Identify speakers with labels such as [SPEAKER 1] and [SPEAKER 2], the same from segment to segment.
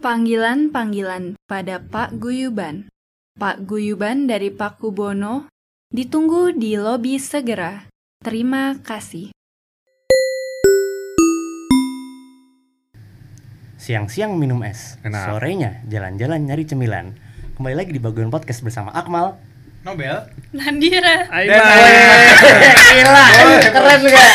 [SPEAKER 1] Panggilan-panggilan pada Pak Guyuban. Pak Guyuban dari Pak Kubono ditunggu di lobi segera. Terima kasih.
[SPEAKER 2] Siang-siang minum es,
[SPEAKER 3] Enak.
[SPEAKER 2] sorenya jalan-jalan nyari cemilan. Kembali lagi di bagian podcast bersama Akmal.
[SPEAKER 4] Nobel.
[SPEAKER 1] Nandira.
[SPEAKER 3] Nah, iya.
[SPEAKER 2] Gila, keren gak?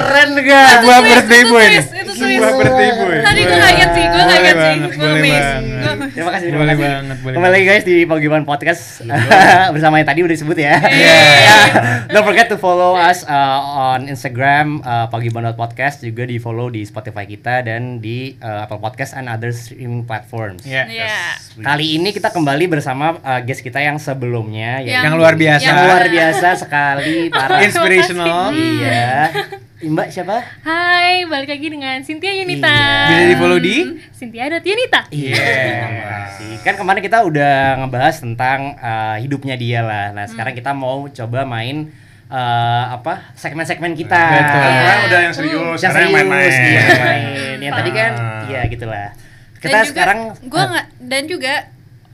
[SPEAKER 2] Keren gak?
[SPEAKER 3] Gua birthday boy nih.
[SPEAKER 1] itu
[SPEAKER 3] Gua birthday boy.
[SPEAKER 1] Tadi
[SPEAKER 3] Boleh
[SPEAKER 1] gua kaget sih, gua kaget sih.
[SPEAKER 3] banget,
[SPEAKER 1] Gua
[SPEAKER 3] boleh
[SPEAKER 1] miss.
[SPEAKER 3] banget.
[SPEAKER 1] Gua
[SPEAKER 2] Terima kasih, terima
[SPEAKER 3] Boleh
[SPEAKER 2] kasih.
[SPEAKER 3] banget, boleh
[SPEAKER 2] Kembali lagi guys di Paguyuban Podcast bersama yang tadi udah disebut
[SPEAKER 1] Iya,
[SPEAKER 2] ya. Don't forget to follow us uh, on Instagram uh, Podcast juga di follow di Spotify kita dan di uh, Apple Podcast and other streaming platforms.
[SPEAKER 3] Iya.
[SPEAKER 5] Iya.
[SPEAKER 2] Kali ini kita kembali bersama uh, guest kita yang sebelumnya ya.
[SPEAKER 5] Yang-
[SPEAKER 3] Yang luar biasa.
[SPEAKER 2] yang luar biasa sekali para
[SPEAKER 3] Inspirational.
[SPEAKER 2] iya. Mbak siapa?
[SPEAKER 5] Hai, balik lagi dengan Cynthia Yunita.
[SPEAKER 2] Iya.
[SPEAKER 3] Bisa di-follow di?
[SPEAKER 6] Hmm,
[SPEAKER 5] Cynthia dot Yunita.
[SPEAKER 2] Iya. terima kasih. Kan kemarin kita udah ngebahas tentang eh, hidupnya dia lah. Nah, sekarang
[SPEAKER 5] Hmm.
[SPEAKER 2] kita mau coba main eh, apa? segmen-segmen kita.
[SPEAKER 3] Betul.
[SPEAKER 4] Yang
[SPEAKER 5] Iya.
[SPEAKER 4] kemarin udah yang serius,
[SPEAKER 2] Yang
[SPEAKER 4] sekarang yang
[SPEAKER 2] serius,
[SPEAKER 4] main-main.
[SPEAKER 2] iya, yang main. Yang tadi kan
[SPEAKER 4] Ah.
[SPEAKER 2] iya gitulah.
[SPEAKER 5] Dan
[SPEAKER 2] Kita
[SPEAKER 5] juga-
[SPEAKER 2] sekarang
[SPEAKER 5] gua nggak dan juga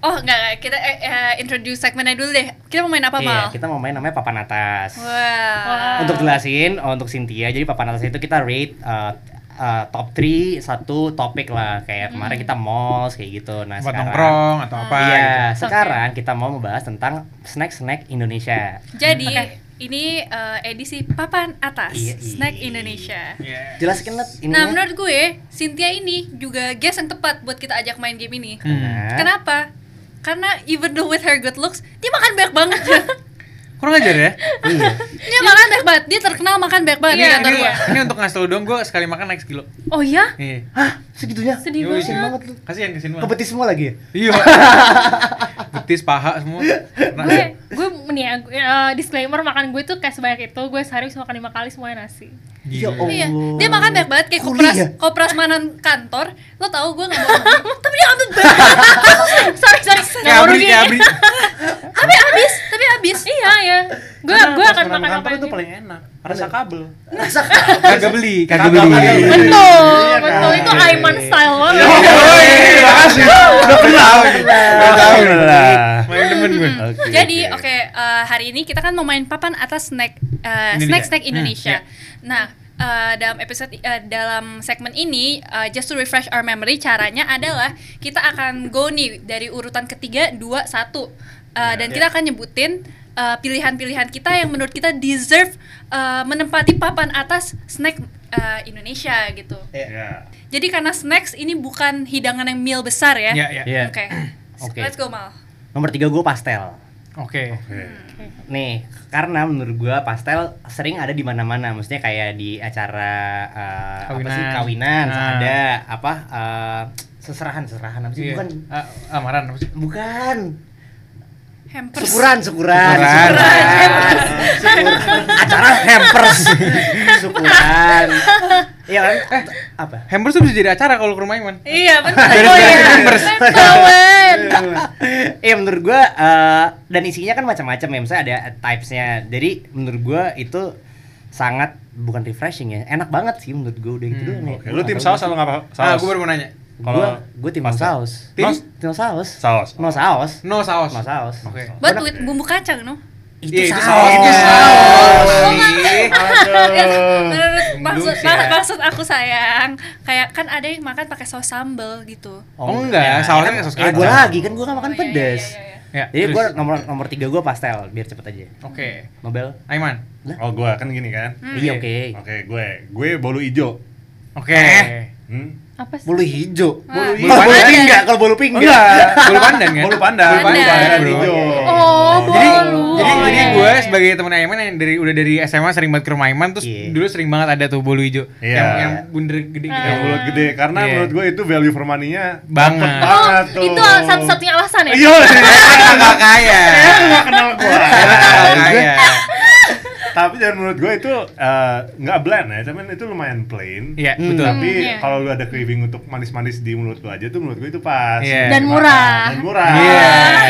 [SPEAKER 5] oh nggak nggak, kita eh, eh, introduce segmennya dulu deh. Kita mau main apa
[SPEAKER 2] iya,
[SPEAKER 5] mal?
[SPEAKER 2] kita mau main namanya papan atas.
[SPEAKER 5] Wah.
[SPEAKER 2] Untuk jelasin oh, untuk Cynthia, jadi papan atas itu kita rate eh, eh, top 3 satu topik lah kayak kemarin
[SPEAKER 5] Hmm.
[SPEAKER 2] kita malls kayak gitu. Nah,
[SPEAKER 3] Tempat
[SPEAKER 2] sekarang
[SPEAKER 3] nongkrong atau apa
[SPEAKER 2] Iya,
[SPEAKER 3] gitu.
[SPEAKER 2] sekarang kita mau membahas tentang snack-snack Indonesia.
[SPEAKER 5] Jadi ini eh, edisi papan atas
[SPEAKER 2] Iya, iya.
[SPEAKER 5] snack Indonesia.
[SPEAKER 3] Iya.
[SPEAKER 2] Jelaskan Nat, ini.
[SPEAKER 5] Nah menurut gue Cynthia ini juga guest yang tepat buat kita ajak main game ini.
[SPEAKER 2] Nah.
[SPEAKER 5] Kenapa? Karena even though with her good looks, dia makan banyak banget.
[SPEAKER 3] Kurang ajar ya?
[SPEAKER 2] Iya.
[SPEAKER 5] dia makan banyak banget. Dia terkenal makan banyak banget di
[SPEAKER 3] Ini,
[SPEAKER 5] kantor
[SPEAKER 3] ini,
[SPEAKER 5] gue.
[SPEAKER 3] ini untuk ngasih tau dong, gue sekali makan naik sekilo
[SPEAKER 5] Oh ya?
[SPEAKER 3] Iya
[SPEAKER 2] Hah, segitunya?
[SPEAKER 5] Sedih
[SPEAKER 3] Yoi,
[SPEAKER 2] Kasian
[SPEAKER 5] banget.
[SPEAKER 2] banget lu.
[SPEAKER 3] Kasihan kesini mah
[SPEAKER 2] Kebetis semua lagi. ya?
[SPEAKER 3] Iya Betis, paha semua Nah,
[SPEAKER 6] gue gue nih ya, gue- eh, disclaimer makan gue tuh kayak sebanyak itu gue sehari bisa makan lima kali semuanya nasi
[SPEAKER 2] Ya
[SPEAKER 3] gila.
[SPEAKER 2] Allah.
[SPEAKER 5] Iya, dia makan banyak banget kayak
[SPEAKER 2] Kuliah.
[SPEAKER 5] kopras, kopras manan kantor. Lo tau gue nggak bohong, Oh, tapi dia ambil banyak.
[SPEAKER 6] sorry sorry nggak
[SPEAKER 3] Kayak
[SPEAKER 6] mau
[SPEAKER 3] abri,
[SPEAKER 6] rugi
[SPEAKER 3] kayak abri
[SPEAKER 5] tapi habis, tapi habis.
[SPEAKER 6] iya ya gue gue akan makan apa
[SPEAKER 4] itu
[SPEAKER 6] aja
[SPEAKER 4] paling enak. Rasa kabel.
[SPEAKER 2] Rasa
[SPEAKER 3] Kagak beli, kagak beli
[SPEAKER 4] Kagak beli.
[SPEAKER 6] betul
[SPEAKER 2] Iya,
[SPEAKER 6] betul
[SPEAKER 2] kan?
[SPEAKER 6] itu Aiman style
[SPEAKER 3] Iya, Ya,
[SPEAKER 6] banget
[SPEAKER 3] Yoi, makasih Udah kenal gitu. Udah tahu Main demen gue
[SPEAKER 2] Oke,
[SPEAKER 5] Jadi
[SPEAKER 2] oke.
[SPEAKER 5] oke eh, hari ini kita kan mau main papan atas snack eh,
[SPEAKER 3] Ini
[SPEAKER 5] snack
[SPEAKER 3] dia.
[SPEAKER 5] snack
[SPEAKER 3] Hmm,
[SPEAKER 5] Indonesia. Nah eh, dalam episode eh, dalam segmen ini eh, just to refresh our memory caranya adalah kita akan go nih dari urutan ketiga dua satu Eh, dan kita akan nyebutin eh, pilihan-pilihan kita yang menurut kita deserve eh, menempati papan atas snack eh, Indonesia gitu.
[SPEAKER 4] Iya.
[SPEAKER 5] Jadi karena snacks ini bukan hidangan yang meal besar ya.
[SPEAKER 3] Ya, ya
[SPEAKER 2] Iya.
[SPEAKER 5] Oke.
[SPEAKER 2] Oke.
[SPEAKER 5] Let's go mal.
[SPEAKER 2] Nomor tiga gue pastel.
[SPEAKER 3] Oke
[SPEAKER 2] Nih, karena menurut gua pastel sering ada di mana-mana. Maksudnya kayak di acara eh, apa
[SPEAKER 3] Kawinan.
[SPEAKER 2] sih kawinan,
[SPEAKER 3] Ah.
[SPEAKER 2] ada apa eh, seserahan, seserahan apa sih?
[SPEAKER 3] Iya.
[SPEAKER 2] Bukan
[SPEAKER 3] Ah, Amaran apa sih?
[SPEAKER 2] bukan
[SPEAKER 5] Hampers.
[SPEAKER 2] syukuran, syukuran,
[SPEAKER 3] Syukuran. Ah.
[SPEAKER 2] syukuran. Syukur- acara hampers, syukuran. Iya kan?
[SPEAKER 3] Eh,
[SPEAKER 2] Apa?
[SPEAKER 3] Hampers tuh bisa jadi acara kalau ke rumah Iman
[SPEAKER 5] Iya benar.
[SPEAKER 3] Dari
[SPEAKER 5] Oh iya.
[SPEAKER 3] hampers.
[SPEAKER 5] Kawan.
[SPEAKER 2] Iya menurut gua eh, dan isinya kan macam-macam ya, misalnya ada typesnya. Jadi menurut gua itu sangat bukan refreshing ya, enak banget sih menurut gua udah gitu
[SPEAKER 3] Hmm,
[SPEAKER 2] doang ya.
[SPEAKER 4] Oke, Lu tim saus atau nggak apa? Saus.
[SPEAKER 3] Ah, gue baru mau nanya
[SPEAKER 2] Gua
[SPEAKER 4] Kalau
[SPEAKER 2] gua tim
[SPEAKER 4] pastel.
[SPEAKER 2] saus.
[SPEAKER 3] Tim?
[SPEAKER 2] Tim saus.
[SPEAKER 4] saus.
[SPEAKER 2] Mau saus.
[SPEAKER 3] No saus
[SPEAKER 2] Mau saus.
[SPEAKER 3] Oke.
[SPEAKER 5] Buat with bumbu kacang no.
[SPEAKER 3] Iya, itu
[SPEAKER 2] saus.
[SPEAKER 3] saus Itu
[SPEAKER 5] Oh,
[SPEAKER 3] saus Ih.
[SPEAKER 5] Menurut Nah, maksud
[SPEAKER 3] Hmm. sih ya.
[SPEAKER 5] mak- maksud aku sayang, kayak kan ada yang makan pakai saus sambel gitu.
[SPEAKER 3] Oh, enggak, sausnya kayak saus
[SPEAKER 2] Eh, gua
[SPEAKER 3] kacang.
[SPEAKER 2] lagi kan gua kan makan
[SPEAKER 5] Oh, iya,
[SPEAKER 2] pedes.
[SPEAKER 5] iya, iya, iya.
[SPEAKER 3] Ya,
[SPEAKER 2] Jadi
[SPEAKER 3] terus.
[SPEAKER 2] gua nomor nomor 3 gua pastel biar cepet aja.
[SPEAKER 3] Oke
[SPEAKER 2] Nobel.
[SPEAKER 3] Aiman
[SPEAKER 4] Oh, gue kan gini kan.
[SPEAKER 5] Hmm.
[SPEAKER 2] Iya, oke.
[SPEAKER 4] Oke, gue gue bolu ijo.
[SPEAKER 3] Oke
[SPEAKER 2] Eh.
[SPEAKER 4] Hmm?
[SPEAKER 6] apa sih
[SPEAKER 2] Bolu hijau.
[SPEAKER 5] Wah.
[SPEAKER 4] Bolu
[SPEAKER 2] Kalau Ah. bolu
[SPEAKER 3] Pandan.
[SPEAKER 2] pink kalau bolu pink enggak.
[SPEAKER 3] Bolu pandan kan?
[SPEAKER 4] Bolu pandan.
[SPEAKER 3] Bolu
[SPEAKER 5] Pandan.
[SPEAKER 3] pandan
[SPEAKER 4] Bolu
[SPEAKER 3] bro.
[SPEAKER 4] ijo.
[SPEAKER 6] oh
[SPEAKER 3] Jadi,
[SPEAKER 6] bolu
[SPEAKER 3] jadi,
[SPEAKER 6] Oh,
[SPEAKER 3] jadi
[SPEAKER 6] iya.
[SPEAKER 3] gue sebagai temen Aiman yang dari udah dari SMA sering banget ke rumah Aiman terus
[SPEAKER 2] Iya.
[SPEAKER 3] dulu sering banget ada tuh bolu hijau
[SPEAKER 4] Iya.
[SPEAKER 3] yang yang bundar gede gitu.
[SPEAKER 4] Yang mulut gede karena
[SPEAKER 3] Iya.
[SPEAKER 4] menurut gue itu value for money-nya
[SPEAKER 3] Banget.
[SPEAKER 4] dapet
[SPEAKER 6] oh
[SPEAKER 4] banget tuh.
[SPEAKER 6] itu satu-satunya alasan ya
[SPEAKER 4] Iya,
[SPEAKER 3] Karena nggak Kan kaya.
[SPEAKER 4] Kan
[SPEAKER 3] Iya,
[SPEAKER 4] nggak kenal gua.
[SPEAKER 3] Nggak kaya.
[SPEAKER 4] tapi dan menurut gue itu eh, nggak bland ya tapi itu lumayan plain
[SPEAKER 3] Iya,
[SPEAKER 2] Hmm.
[SPEAKER 3] betul.
[SPEAKER 4] tapi
[SPEAKER 6] Hmm, iya.
[SPEAKER 4] kalau lu ada craving untuk manis-manis di mulut lu aja tuh menurut gue itu pas
[SPEAKER 3] Iya.
[SPEAKER 6] Dan
[SPEAKER 4] Makan,
[SPEAKER 6] murah.
[SPEAKER 4] dan murah
[SPEAKER 3] Iya.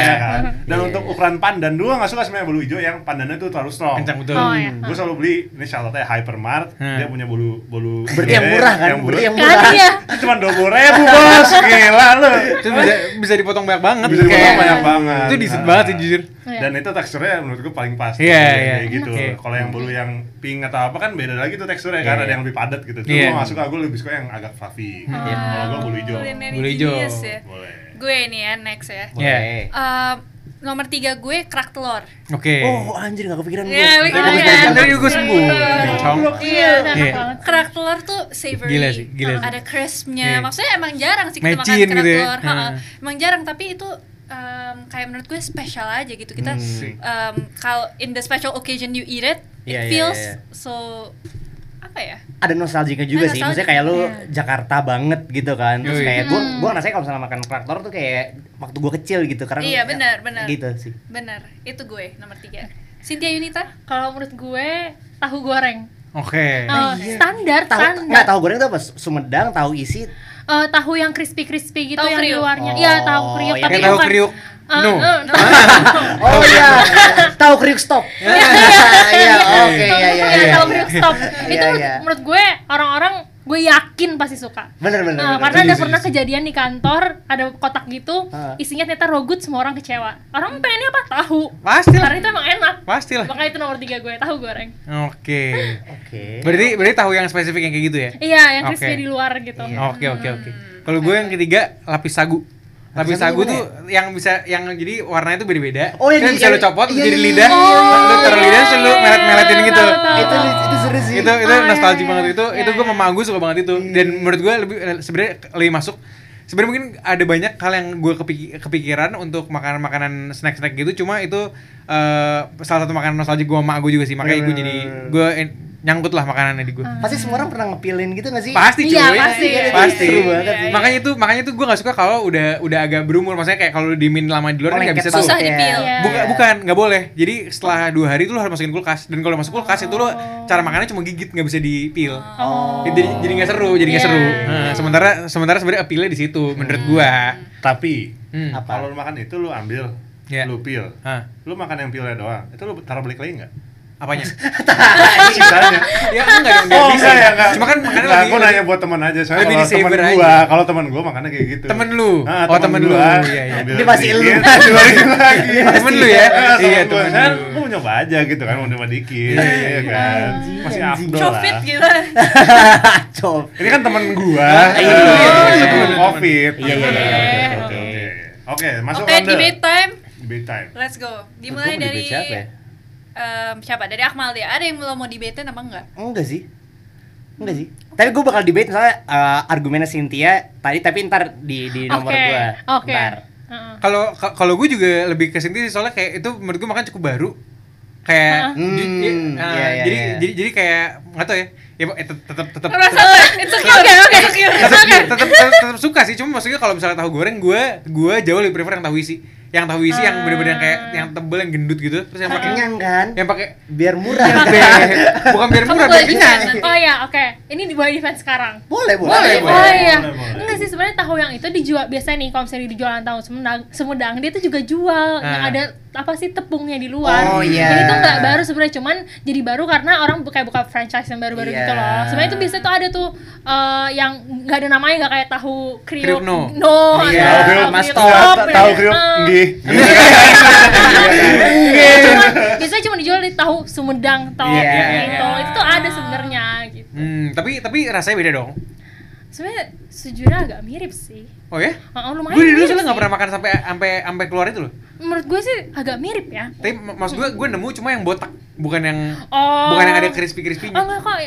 [SPEAKER 4] ya kan? dan
[SPEAKER 2] Iya.
[SPEAKER 4] untuk ukuran pandan dua nggak suka sebenarnya bolu hijau yang pandannya tuh terlalu strong
[SPEAKER 3] Kencang betul.
[SPEAKER 6] Oh, iya.
[SPEAKER 4] gue selalu beli ini charlotnya hypermart
[SPEAKER 3] Hmm.
[SPEAKER 4] dia punya bolu bolu
[SPEAKER 2] Berarti yang
[SPEAKER 4] gede,
[SPEAKER 2] murah kan?
[SPEAKER 4] yang
[SPEAKER 2] Berarti yang
[SPEAKER 4] murah
[SPEAKER 2] murah.
[SPEAKER 6] Kan iya.
[SPEAKER 4] itu cuma dua puluh ribu bos gila lu
[SPEAKER 3] Itu bisa, bisa dipotong banyak banget.
[SPEAKER 4] bisa
[SPEAKER 3] Kayak-
[SPEAKER 4] dimakan banyak banget
[SPEAKER 3] Itu decent
[SPEAKER 4] Ah.
[SPEAKER 3] banget sih jujur.
[SPEAKER 6] Iya.
[SPEAKER 4] dan itu teksturnya menurut gue paling pas
[SPEAKER 3] Iya,
[SPEAKER 4] Kayak
[SPEAKER 3] iya.
[SPEAKER 4] gitu
[SPEAKER 3] Oke.
[SPEAKER 4] kalau yang bolu yang pink atau apa kan beda lagi tuh
[SPEAKER 2] Iya,
[SPEAKER 4] teksturnya kan
[SPEAKER 2] iya.
[SPEAKER 4] ada yang lebih padat gitu cuma
[SPEAKER 3] Iya. Hmm.
[SPEAKER 4] gua gak suka gue lebih suka yang agak fluffy
[SPEAKER 6] Iya.
[SPEAKER 4] kalau gue bolu hijau
[SPEAKER 5] Culinary
[SPEAKER 3] Bulu hijau.
[SPEAKER 5] genius ya.
[SPEAKER 4] boleh
[SPEAKER 5] Gue nih ya next ya.
[SPEAKER 3] Iya.
[SPEAKER 2] Boleh.
[SPEAKER 5] Eh, nomor tiga gue kerak telur.
[SPEAKER 3] Oke.
[SPEAKER 2] Oh anjir gak kepikiran gue.
[SPEAKER 5] Iya,
[SPEAKER 3] Tadi gue-
[SPEAKER 5] Iya.
[SPEAKER 3] Tadi gue gitu, sembuh. Cong.
[SPEAKER 6] Iya, itu enak
[SPEAKER 3] Iya.
[SPEAKER 6] banget.
[SPEAKER 5] Kerak telur tuh savory,
[SPEAKER 3] Gila sih, gila sih.
[SPEAKER 5] ada crispnya.
[SPEAKER 3] Iya.
[SPEAKER 5] Maksudnya emang jarang sih kita
[SPEAKER 3] Mecin
[SPEAKER 5] makan kerak
[SPEAKER 3] gitu ya.
[SPEAKER 5] telur. Ha-ha.
[SPEAKER 3] Heeh.
[SPEAKER 5] Emang jarang tapi itu em, kayak menurut gue spesial aja gitu. Kita
[SPEAKER 3] Hmm.
[SPEAKER 5] em, kalau in the special occasion you eat it,
[SPEAKER 2] Iya,
[SPEAKER 5] it
[SPEAKER 2] iya,
[SPEAKER 5] feels
[SPEAKER 2] iya.
[SPEAKER 5] so apa ya?
[SPEAKER 2] Ada nostalginya juga
[SPEAKER 5] Ada
[SPEAKER 2] sih.
[SPEAKER 5] nostalgia.
[SPEAKER 2] Maksudnya kayak lu
[SPEAKER 6] Iya.
[SPEAKER 2] Jakarta banget gitu kan. Terus
[SPEAKER 3] Yoi.
[SPEAKER 2] kayak gua gua rasanya kalau misalnya makan traktor tuh kayak waktu gua kecil gitu karena
[SPEAKER 5] Iya, benar, benar.
[SPEAKER 2] Gitu sih.
[SPEAKER 5] Bener, itu gue nomor tiga. Cynthia Yunita?
[SPEAKER 6] Kalau menurut gue tahu goreng.
[SPEAKER 3] Oke.
[SPEAKER 6] Eh, standar
[SPEAKER 2] Tahu
[SPEAKER 6] standar.
[SPEAKER 2] enggak tahu goreng itu apa? Sumedang, tahu isi.
[SPEAKER 6] Eh, tahu yang crispy crispy gitu yang
[SPEAKER 5] Tahu kriuk.
[SPEAKER 6] luarnya.
[SPEAKER 2] Oh,
[SPEAKER 6] Iya, tahu kriuk
[SPEAKER 2] yang
[SPEAKER 6] tapi
[SPEAKER 3] Kayak tahu
[SPEAKER 6] bukan-
[SPEAKER 3] kriuk.
[SPEAKER 6] Eh,
[SPEAKER 3] No.
[SPEAKER 6] eh,
[SPEAKER 2] Oh iya. tahu kriuk stop. Iya, oke iya iya
[SPEAKER 6] Iya,
[SPEAKER 2] iya.
[SPEAKER 6] tahu kriuk stop.
[SPEAKER 2] Iya,
[SPEAKER 6] Itu menurut-
[SPEAKER 2] iya.
[SPEAKER 6] menurut gue orang-orang gue yakin pasti suka.
[SPEAKER 2] Bener bener.
[SPEAKER 6] Nah,
[SPEAKER 2] bener.
[SPEAKER 6] karena ada
[SPEAKER 3] Setuju,
[SPEAKER 6] pernah
[SPEAKER 3] setuju.
[SPEAKER 6] kejadian di kantor ada kotak gitu
[SPEAKER 2] Ah.
[SPEAKER 6] isinya ternyata rogut semua orang kecewa orang pengennya apa tahu
[SPEAKER 3] Pasti lah.
[SPEAKER 6] karena itu emang enak
[SPEAKER 3] Pasti lah.
[SPEAKER 6] makanya itu nomor tiga gue tahu goreng
[SPEAKER 3] Oke.
[SPEAKER 2] Oke.
[SPEAKER 3] Berarti berarti tahu yang spesifik yang kayak gitu ya?
[SPEAKER 6] iya yang
[SPEAKER 3] Oke.
[SPEAKER 6] crispy di luar gitu
[SPEAKER 2] Iya.
[SPEAKER 3] Oh, Oke oke oke. Kalau gue yang ketiga lapis sagu.
[SPEAKER 2] Lapis
[SPEAKER 3] Lapis
[SPEAKER 2] sagu
[SPEAKER 3] sagu
[SPEAKER 2] gimana
[SPEAKER 3] tuh yang bisa yang jadi warnanya tuh beda-beda.
[SPEAKER 2] Oh, yang
[SPEAKER 3] Terus
[SPEAKER 2] di-
[SPEAKER 3] bisa lu
[SPEAKER 2] yang-
[SPEAKER 3] copot
[SPEAKER 2] iya,
[SPEAKER 3] jadi
[SPEAKER 2] iya,
[SPEAKER 3] lidah,
[SPEAKER 2] iya, iya,
[SPEAKER 3] lu taruh
[SPEAKER 6] iya,
[SPEAKER 3] lidah terus lu
[SPEAKER 6] iya,
[SPEAKER 3] melet-meletin
[SPEAKER 6] iya,
[SPEAKER 3] gitu.
[SPEAKER 6] tahu, tahu.
[SPEAKER 2] Itu itu seru sih.
[SPEAKER 3] Itu itu
[SPEAKER 6] Oh, iya,
[SPEAKER 3] nostalgia
[SPEAKER 6] iya.
[SPEAKER 3] banget itu.
[SPEAKER 6] Iya,
[SPEAKER 3] Itu gue
[SPEAKER 6] iya.
[SPEAKER 3] sama gue suka banget itu. Dan
[SPEAKER 2] Iya.
[SPEAKER 3] menurut gue lebih eh, sebenarnya lebih masuk Sebenarnya mungkin ada banyak hal yang gue kepiki- kepikiran untuk makanan-makanan snack-snack gitu, cuma itu eh, salah satu makanan nostalgia gue sama gue juga sih, makanya
[SPEAKER 2] Iya,
[SPEAKER 3] gue jadi gue en- nyangkut lah makanannya di
[SPEAKER 6] Ah,
[SPEAKER 3] gue.
[SPEAKER 2] Pasti semua orang pernah ngepilin gitu gak sih?
[SPEAKER 3] Pasti cuy.
[SPEAKER 6] Iya, pasti.
[SPEAKER 3] Pasti.
[SPEAKER 2] Seru banget
[SPEAKER 5] sih.
[SPEAKER 3] Makanya itu makanya itu gue gak suka kalau udah udah agak berumur, maksudnya kayak kalau lu diemin lama di luar kan gak bisa tuh.
[SPEAKER 5] Susah dipil.
[SPEAKER 6] Iya.
[SPEAKER 3] Buka, bukan, nggak boleh. Jadi setelah dua hari itu lo harus masukin kulkas. Dan kalau masuk kulkas itu lo cara makannya cuma gigit, nggak bisa dipil.
[SPEAKER 6] oh
[SPEAKER 3] Jadi jadi nggak seru, jadi nggak
[SPEAKER 6] Iya. Hmm.
[SPEAKER 3] seru. Nah, sementara sementara sebenarnya appeal-nya di situ, menurut gua.
[SPEAKER 4] tapi
[SPEAKER 3] Hmm.
[SPEAKER 2] Apa?
[SPEAKER 4] kalau lu makan itu lu ambil
[SPEAKER 3] Iya.
[SPEAKER 4] lu pil
[SPEAKER 3] Hah,
[SPEAKER 4] lu makan yang pilnya doang itu lu taruh balik lagi nggak
[SPEAKER 3] apanya?
[SPEAKER 4] sisanya
[SPEAKER 3] ya enggak dong,
[SPEAKER 4] Oh,
[SPEAKER 3] nggak bisa. Cuma kan makannya
[SPEAKER 4] Nah,
[SPEAKER 3] lebih.
[SPEAKER 4] gua nanya buat teman aja soalnya
[SPEAKER 3] lebih
[SPEAKER 4] kalau teman
[SPEAKER 3] di-savor
[SPEAKER 4] gua
[SPEAKER 3] aja.
[SPEAKER 4] kalau teman gua makannya kayak gitu
[SPEAKER 3] Temen lu?
[SPEAKER 4] Ah,
[SPEAKER 3] Oh, temen lu.
[SPEAKER 4] gua,
[SPEAKER 3] Iya, iya.
[SPEAKER 4] ambil
[SPEAKER 2] Ini pasti lu.
[SPEAKER 4] dikit, dibalikin lagi
[SPEAKER 3] Temen lu ya? Iya,
[SPEAKER 4] iya
[SPEAKER 3] temen
[SPEAKER 4] temen kan
[SPEAKER 3] lu.
[SPEAKER 4] gua mau nyoba aja gitu kan mau nyoba dikit iya kan
[SPEAKER 2] Anjing,
[SPEAKER 4] masih
[SPEAKER 2] anjing.
[SPEAKER 4] afdol
[SPEAKER 5] Covid
[SPEAKER 4] lah
[SPEAKER 5] gitu.
[SPEAKER 2] Cok.
[SPEAKER 4] ini kan temen gua
[SPEAKER 2] Iya,
[SPEAKER 4] eh,
[SPEAKER 2] iya,
[SPEAKER 3] Ah, iya.
[SPEAKER 4] sebelum covid
[SPEAKER 2] Iya iya iya. oke, oke,
[SPEAKER 4] Oke.
[SPEAKER 2] oke.
[SPEAKER 4] oke masuk
[SPEAKER 5] Oke,
[SPEAKER 4] ronde
[SPEAKER 5] debate time.
[SPEAKER 4] debate time
[SPEAKER 5] Let's go.
[SPEAKER 2] Gua
[SPEAKER 5] Dimulai
[SPEAKER 2] mau
[SPEAKER 5] dari
[SPEAKER 2] debate siapa ya?
[SPEAKER 5] em, siapa? Dari Akmal deh. Ada yang lo mau debate apa enggak?
[SPEAKER 2] Enggak sih. Enggak sih. Tapi gue bakal debate misalnya eh, argumennya Cynthia tadi tapi ntar di di nomor
[SPEAKER 6] Oke,
[SPEAKER 2] gue.
[SPEAKER 6] oke
[SPEAKER 2] Ntar.
[SPEAKER 6] Heeh.
[SPEAKER 3] Kalau ka- kalau gue juga lebih ke sini sih, soalnya kayak itu menurut gue makan cukup baru. Kayak
[SPEAKER 2] Hmm,
[SPEAKER 3] ju- ya, nah,
[SPEAKER 2] iya, iya,
[SPEAKER 3] jadi
[SPEAKER 2] iya.
[SPEAKER 3] jadi jadi kayak nggak tau ya. Ya tetap tetap
[SPEAKER 5] Merasa It's okay, okay, okay.
[SPEAKER 3] tetap tetap tetap suka sih cuma maksudnya kalau misalnya tahu goreng gue gue jauh lebih prefer yang tahu isi yang tahu isi yang bener-bener yang kayak yang tebel yang gendut gitu terus yang pakai
[SPEAKER 2] Kenyang kan?
[SPEAKER 3] yang pakai
[SPEAKER 2] Biar murah kan?
[SPEAKER 3] bukan biar
[SPEAKER 5] Kamu
[SPEAKER 3] murah
[SPEAKER 5] boleh
[SPEAKER 3] biar kenyang
[SPEAKER 5] juga, Nan.
[SPEAKER 6] oh ya oke ini di bawah defense sekarang
[SPEAKER 2] Boleh, boleh.
[SPEAKER 3] Boleh,
[SPEAKER 6] Oh iya.
[SPEAKER 4] boleh, boleh.
[SPEAKER 6] Enggak sih sebenarnya tahu yang itu dijual biasanya nih kalau misalnya di jualan tahu Sumedang, Sumedang dia tuh juga jual yang
[SPEAKER 3] Ah.
[SPEAKER 6] ada apa sih tepungnya di
[SPEAKER 2] Oh,
[SPEAKER 6] luar.
[SPEAKER 2] iya.
[SPEAKER 6] Jadi itu enggak baru sebenarnya cuman jadi baru karena orang bu- kayak buka franchise yang baru-baru
[SPEAKER 2] Iya.
[SPEAKER 6] gitu loh. Sebenarnya itu biasanya tuh ada tuh eh, yang enggak ada namanya enggak kayak tahu kriuk.
[SPEAKER 3] Kriuk no.
[SPEAKER 2] Iya,
[SPEAKER 6] ada
[SPEAKER 2] kriuk
[SPEAKER 6] tahu
[SPEAKER 2] mas
[SPEAKER 6] kriuk
[SPEAKER 2] top,
[SPEAKER 6] stop,
[SPEAKER 2] ta-
[SPEAKER 6] ya.
[SPEAKER 4] tahu kriuk
[SPEAKER 6] Eh,
[SPEAKER 2] iya,
[SPEAKER 4] nggih Nggih.
[SPEAKER 6] iya, cuma biasanya cuma dijual di tahu Sumedang tahu
[SPEAKER 2] Iya, iya,
[SPEAKER 6] gitu.
[SPEAKER 3] iya.
[SPEAKER 6] Itu tuh ada sebenarnya gitu.
[SPEAKER 3] hmm, tapi tapi rasanya beda dong
[SPEAKER 6] Sebenarnya sejujurnya agak mirip sih.
[SPEAKER 3] oh ya
[SPEAKER 6] Oh, lumayan.
[SPEAKER 3] gue dari dulu
[SPEAKER 6] mirip
[SPEAKER 3] soalnya nggak
[SPEAKER 6] sih.
[SPEAKER 3] pernah makan sampai sampai sampai keluar itu loh
[SPEAKER 6] menurut gue sih agak mirip ya
[SPEAKER 3] tapi mak- maksud gue gue nemu cuma yang botak bukan yang
[SPEAKER 6] Oh.
[SPEAKER 3] bukan yang ada crispy crispynya
[SPEAKER 6] oh enggak kok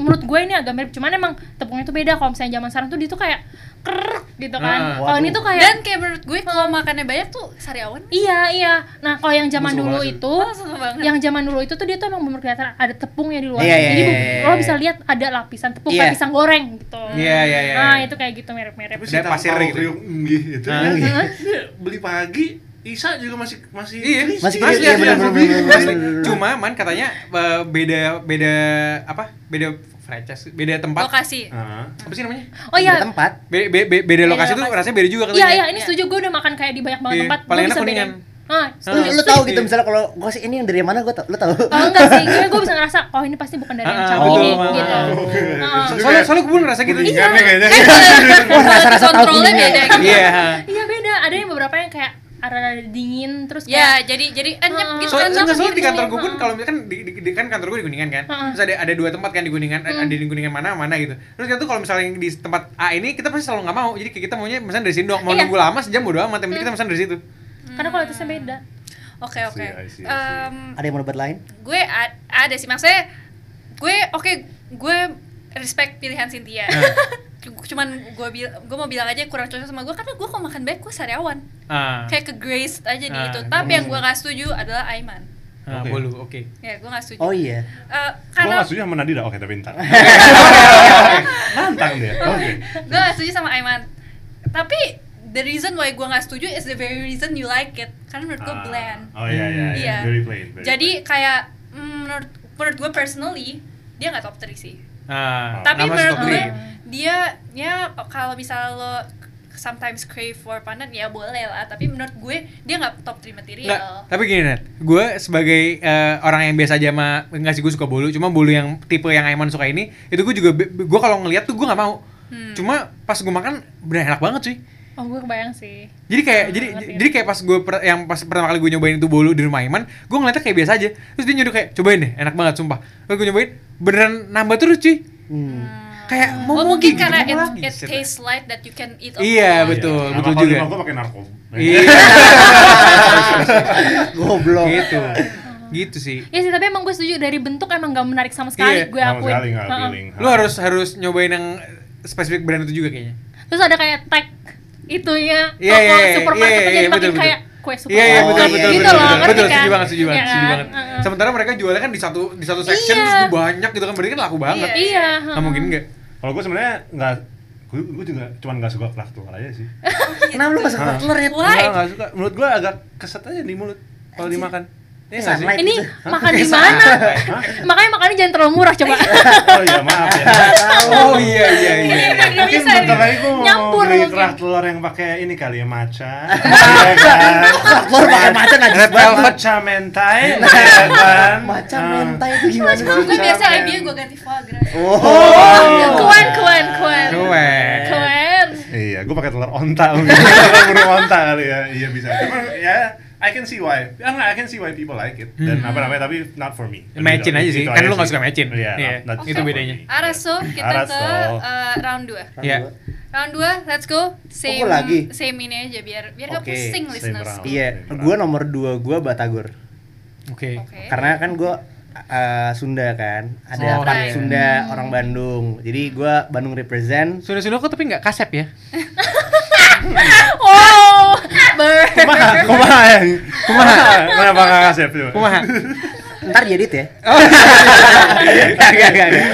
[SPEAKER 6] menurut gue ini agak mirip cuman emang tepungnya tuh beda kalau misalnya zaman sekarang tuh dia tuh kayak kerek gitu
[SPEAKER 3] Ah,
[SPEAKER 6] kan kalau ini
[SPEAKER 2] waduh.
[SPEAKER 6] tuh kayak
[SPEAKER 5] Dan kayak menurut gue kalau makannya banyak tuh sariawan.
[SPEAKER 6] iya iya nah kalau yang zaman
[SPEAKER 3] Gua suka
[SPEAKER 6] dulu
[SPEAKER 3] banget sih.
[SPEAKER 6] itu
[SPEAKER 5] Gua suka banget.
[SPEAKER 6] yang zaman dulu itu tuh dia tuh emang bener kelihatan ada tepungnya di luar
[SPEAKER 2] Iya, iya,
[SPEAKER 6] jadi
[SPEAKER 2] iya,
[SPEAKER 6] bu-
[SPEAKER 2] iya,
[SPEAKER 6] lo
[SPEAKER 2] iya.
[SPEAKER 6] bisa lihat ada lapisan tepung
[SPEAKER 2] Iya.
[SPEAKER 6] kayak pisang goreng gitu
[SPEAKER 3] Iya, iya, iya,
[SPEAKER 6] nah
[SPEAKER 3] iya.
[SPEAKER 4] Eh,
[SPEAKER 6] itu kayak gitu mirip-mirip
[SPEAKER 4] Terus
[SPEAKER 3] Ada
[SPEAKER 4] kita
[SPEAKER 3] pasir
[SPEAKER 2] Ah,
[SPEAKER 4] tahu
[SPEAKER 2] iya.
[SPEAKER 3] gitu.
[SPEAKER 4] kriuk nggih itu
[SPEAKER 3] Ah.
[SPEAKER 4] Iya. beli pagi Isa juga masih masih
[SPEAKER 3] Iya,
[SPEAKER 4] crispy.
[SPEAKER 2] Masih
[SPEAKER 3] masih
[SPEAKER 2] crispy, iya,
[SPEAKER 3] asli, asli,
[SPEAKER 2] bener,
[SPEAKER 3] asli,
[SPEAKER 2] bener, bener,
[SPEAKER 3] asli.
[SPEAKER 2] bener.
[SPEAKER 3] Cuma man katanya eh, beda beda apa? Beda franchise, beda tempat.
[SPEAKER 5] lokasi
[SPEAKER 4] Heeh.
[SPEAKER 3] Apa sih namanya?
[SPEAKER 6] Oh iya.
[SPEAKER 2] Di tempat.
[SPEAKER 3] Beda, be- be- beda
[SPEAKER 6] Beda
[SPEAKER 3] lokasi tuh
[SPEAKER 6] lokasi.
[SPEAKER 3] rasanya beda juga
[SPEAKER 6] Iya,
[SPEAKER 3] katanya.
[SPEAKER 6] iya, ini setuju gue udah makan kayak di banyak banget
[SPEAKER 3] Iya,
[SPEAKER 6] tempat.
[SPEAKER 3] paling
[SPEAKER 6] Gua
[SPEAKER 3] enak
[SPEAKER 6] bisa
[SPEAKER 3] kuningan.
[SPEAKER 6] bedain. Ah,
[SPEAKER 2] Lu,
[SPEAKER 6] setuju,
[SPEAKER 2] lu tahu
[SPEAKER 6] setuju.
[SPEAKER 2] gitu misalnya kalau gue sih ini yang dari mana gue tau, lu tahu?
[SPEAKER 6] Oh, enggak sih, gue, gue bisa ngerasa, oh ini pasti bukan dari yang
[SPEAKER 3] Ah,
[SPEAKER 6] cabut
[SPEAKER 2] betul,
[SPEAKER 6] ini,
[SPEAKER 3] ah,
[SPEAKER 6] gitu. Ah.
[SPEAKER 4] Setuju
[SPEAKER 3] Soalnya
[SPEAKER 4] ya?
[SPEAKER 3] soalnya gue ngerasa
[SPEAKER 6] Iya.
[SPEAKER 3] gitu.
[SPEAKER 4] Kuningan nih kayaknya.
[SPEAKER 6] Kan
[SPEAKER 2] Wah rasa-rasa tahu
[SPEAKER 5] Kontrolnya
[SPEAKER 2] kuning
[SPEAKER 5] beda
[SPEAKER 2] ya.
[SPEAKER 5] gitu.
[SPEAKER 3] Iya.
[SPEAKER 6] Iya beda, ada yang beberapa yang kayak ada dingin terus
[SPEAKER 5] ya
[SPEAKER 6] kayak
[SPEAKER 5] jadi jadi enyep
[SPEAKER 6] Ah.
[SPEAKER 5] gitu
[SPEAKER 2] Oh.
[SPEAKER 3] Soalnya enggak,
[SPEAKER 5] kan
[SPEAKER 3] soalnya di
[SPEAKER 6] sendiri,
[SPEAKER 3] kantor gue pun
[SPEAKER 6] heeh.
[SPEAKER 3] kalau misalkan di, di- di- kan kantor gue di Kuningan kan.
[SPEAKER 6] Heeh. Hmm.
[SPEAKER 3] Terus ada ada dua tempat kan di Kuningan, ada di Kuningan mana mana gitu. Terus kita tuh kalau misalnya yang di tempat A ini kita pasti selalu nggak mau. Jadi kayak kita maunya pesan dari sini doang. Mau
[SPEAKER 6] Iya. Hmm.
[SPEAKER 3] nunggu lama sejam bodo amat, yang penting kita pesan dari situ.
[SPEAKER 6] karena kualitasnya beda.
[SPEAKER 5] oke
[SPEAKER 4] I see,
[SPEAKER 5] oke
[SPEAKER 4] Iya, I see, I see.
[SPEAKER 5] Em,
[SPEAKER 2] Ada yang mau debat lain?
[SPEAKER 5] gue a- ada sih maksudnya gue oke gue respect pilihan Cynthia
[SPEAKER 4] Nah.
[SPEAKER 5] cuman gue bil- gue mau bilang aja kurang cocok sama gue karena gue kalau makan baik gue sariawan
[SPEAKER 3] Ah.
[SPEAKER 5] kayak ke Grace aja di
[SPEAKER 3] Ah,
[SPEAKER 5] itu tapi
[SPEAKER 2] Hmm.
[SPEAKER 5] yang gue gak setuju adalah Aiman
[SPEAKER 3] Ah,
[SPEAKER 4] Oke.
[SPEAKER 3] bolu, oke.
[SPEAKER 5] ya gue gak setuju
[SPEAKER 2] Oh iya.
[SPEAKER 5] Eh,
[SPEAKER 4] Gue
[SPEAKER 5] karena
[SPEAKER 4] nggak setuju sama Nadira, oke tapi ntar Nantang dia, oke
[SPEAKER 5] gue gak setuju sama Aiman tapi the reason why gue gak setuju is the very reason you like it karena menurut gue
[SPEAKER 4] Ah,
[SPEAKER 5] bland
[SPEAKER 4] Oh iya, iya,
[SPEAKER 5] Iya.
[SPEAKER 4] iya, very plain very
[SPEAKER 5] jadi kayak mm, menurut menurut gue personally dia nggak top 3 sih
[SPEAKER 3] Ah,
[SPEAKER 5] tapi
[SPEAKER 3] nama
[SPEAKER 5] menurut
[SPEAKER 3] stok
[SPEAKER 5] gue
[SPEAKER 3] nih.
[SPEAKER 5] dia ya kalau misal lo sometimes crave for pandan ya boleh lah tapi menurut gue dia nggak top 3
[SPEAKER 3] Nggak,
[SPEAKER 5] material
[SPEAKER 3] tapi gini Nat, gue sebagai eh, orang yang biasa aja sama enggak sih gue suka bolu, cuma bolu yang tipe yang Aiman suka ini, itu gue juga be- gue kalau ngelihat tuh gue nggak mau.
[SPEAKER 5] Hmm.
[SPEAKER 3] Cuma pas gue makan bener enak banget sih.
[SPEAKER 6] Oh gue kebayang sih.
[SPEAKER 3] Jadi kayak
[SPEAKER 6] Enak
[SPEAKER 3] jadi
[SPEAKER 6] banget
[SPEAKER 5] iya.
[SPEAKER 6] ya.
[SPEAKER 3] jadi kayak pas gue per- yang pas pertama kali gue nyobain itu bolu di rumah Aiman, gue ngeliatnya kayak biasa aja. Terus dia nyuruh kayak cobain deh, enak banget sumpah. Terus gue nyobain, beneran nambah terus cuy.
[SPEAKER 2] Hmm.
[SPEAKER 3] Kayak mau
[SPEAKER 5] oh
[SPEAKER 3] mau
[SPEAKER 5] mungkin
[SPEAKER 3] gitu,
[SPEAKER 5] karena
[SPEAKER 3] mau
[SPEAKER 5] it,
[SPEAKER 3] lagi,
[SPEAKER 5] it
[SPEAKER 3] set.
[SPEAKER 5] tastes light that you can eat
[SPEAKER 3] Iya,
[SPEAKER 5] all the time.
[SPEAKER 3] betul,
[SPEAKER 4] Sama
[SPEAKER 3] betul
[SPEAKER 4] kalau
[SPEAKER 3] juga.
[SPEAKER 4] di rumah Gue pakai narkoba
[SPEAKER 3] Iya,
[SPEAKER 2] Goblok.
[SPEAKER 3] gitu. Gitu sih.
[SPEAKER 6] Iya sih, tapi emang gue setuju dari bentuk emang gak menarik sama sekali
[SPEAKER 3] Iya,
[SPEAKER 6] gue
[SPEAKER 4] Sama
[SPEAKER 6] akuin. Ah,
[SPEAKER 4] sekali nggak
[SPEAKER 6] Heeh.
[SPEAKER 4] appealing
[SPEAKER 3] Lu harus harus nyobain yang spesifik brand itu juga kayaknya.
[SPEAKER 6] Terus ada kayak tag itunya
[SPEAKER 3] Iya,
[SPEAKER 6] toko
[SPEAKER 3] iya, iya,
[SPEAKER 6] supermarket
[SPEAKER 3] iya,
[SPEAKER 6] tuh
[SPEAKER 3] iya,
[SPEAKER 6] jadi makin
[SPEAKER 3] betul,
[SPEAKER 6] kayak
[SPEAKER 3] betul.
[SPEAKER 6] kue
[SPEAKER 3] Iya iya
[SPEAKER 2] Oh, iya,
[SPEAKER 3] betul betul
[SPEAKER 6] supermarket.
[SPEAKER 2] iya.
[SPEAKER 6] gitu
[SPEAKER 3] betul
[SPEAKER 6] loh,
[SPEAKER 3] betul
[SPEAKER 6] ngerti
[SPEAKER 3] betul
[SPEAKER 6] kan?
[SPEAKER 3] setuju banget setuju
[SPEAKER 6] Iya
[SPEAKER 3] banget setuju
[SPEAKER 6] kan?
[SPEAKER 3] banget.
[SPEAKER 6] Heeh.
[SPEAKER 3] Sementara mereka jualnya kan di satu di satu section
[SPEAKER 6] Iya.
[SPEAKER 3] terus banyak gitu kan berarti kan laku banget.
[SPEAKER 5] Iya.
[SPEAKER 6] Iya.
[SPEAKER 3] Nggak mungkin enggak.
[SPEAKER 4] Kalau gue sebenarnya nggak gue, gue juga cuman nggak suka craft telur aja sih
[SPEAKER 2] Kenapa lu masuk
[SPEAKER 4] Ah.
[SPEAKER 2] telur ya?
[SPEAKER 5] Why?
[SPEAKER 4] nggak suka menurut gue agak keset aja di mulut kalau dimakan Iya nggak sih?
[SPEAKER 2] Sunlight.
[SPEAKER 6] Ini
[SPEAKER 2] Hah?
[SPEAKER 6] makan di mana? Makanya makannya jangan terlalu murah coba.
[SPEAKER 4] oh iya maaf ya
[SPEAKER 3] Oh iya iya iya.
[SPEAKER 4] mungkin
[SPEAKER 5] bisa
[SPEAKER 2] gitu.
[SPEAKER 4] bentar lagi gue mau
[SPEAKER 6] Nyampur
[SPEAKER 4] beli
[SPEAKER 6] mungkin.
[SPEAKER 4] craft telur yang pakai ini kali ya matcha Iya kan?
[SPEAKER 2] Craft telur pakai macan aja.
[SPEAKER 3] Red velvet.
[SPEAKER 4] matcha mentai iya kan
[SPEAKER 2] Macan
[SPEAKER 4] Ah.
[SPEAKER 2] mentai Oh. itu gimana? sih?
[SPEAKER 5] gue biasa
[SPEAKER 4] Jangan.
[SPEAKER 5] idea gue ganti foie gras
[SPEAKER 6] Kuen, kuen, kuen.
[SPEAKER 3] Keren.
[SPEAKER 6] Kuen.
[SPEAKER 4] Iya, gue pakai telur onta mungkin. Telur burung onta kali ya. Iya bisa. Cuman ya I can see why. Ya enggak, I can see why people like it. Dan
[SPEAKER 2] Hmm.
[SPEAKER 4] apa namanya tapi not for me.
[SPEAKER 3] Matchin aja sih.
[SPEAKER 4] Itu
[SPEAKER 3] Kan lu nggak suka matchin.
[SPEAKER 4] Iya,
[SPEAKER 3] Iya,
[SPEAKER 4] not- not
[SPEAKER 3] itu
[SPEAKER 4] for
[SPEAKER 3] bedanya.
[SPEAKER 4] me.
[SPEAKER 5] Araso kita ke
[SPEAKER 4] Araso.
[SPEAKER 5] eh, round 2
[SPEAKER 3] Iya.
[SPEAKER 5] round 2 let's go same
[SPEAKER 2] Oh, lagi?
[SPEAKER 5] same ini aja biar biar gak
[SPEAKER 2] Oke,
[SPEAKER 5] pusing
[SPEAKER 4] same
[SPEAKER 5] listeners
[SPEAKER 4] round.
[SPEAKER 5] oke
[SPEAKER 2] Iya, gue nomor dua gue Batagor.
[SPEAKER 3] Oke.
[SPEAKER 2] Karena kan gue Sunda kan, ada
[SPEAKER 3] Oh,
[SPEAKER 2] part
[SPEAKER 6] iya.
[SPEAKER 5] right.
[SPEAKER 6] Hmm.
[SPEAKER 2] Sunda orang Bandung. Jadi gue Bandung represent.
[SPEAKER 3] Sunda-sunda kok tapi nggak kasep ya?
[SPEAKER 6] Oh, ber.
[SPEAKER 4] Kumaha, kumaha,
[SPEAKER 2] ya?
[SPEAKER 4] kumaha. Kenapa nggak kasih itu?
[SPEAKER 3] Kumaha?
[SPEAKER 2] Ntar jadi ya. Enggak, enggak, enggak, enggak.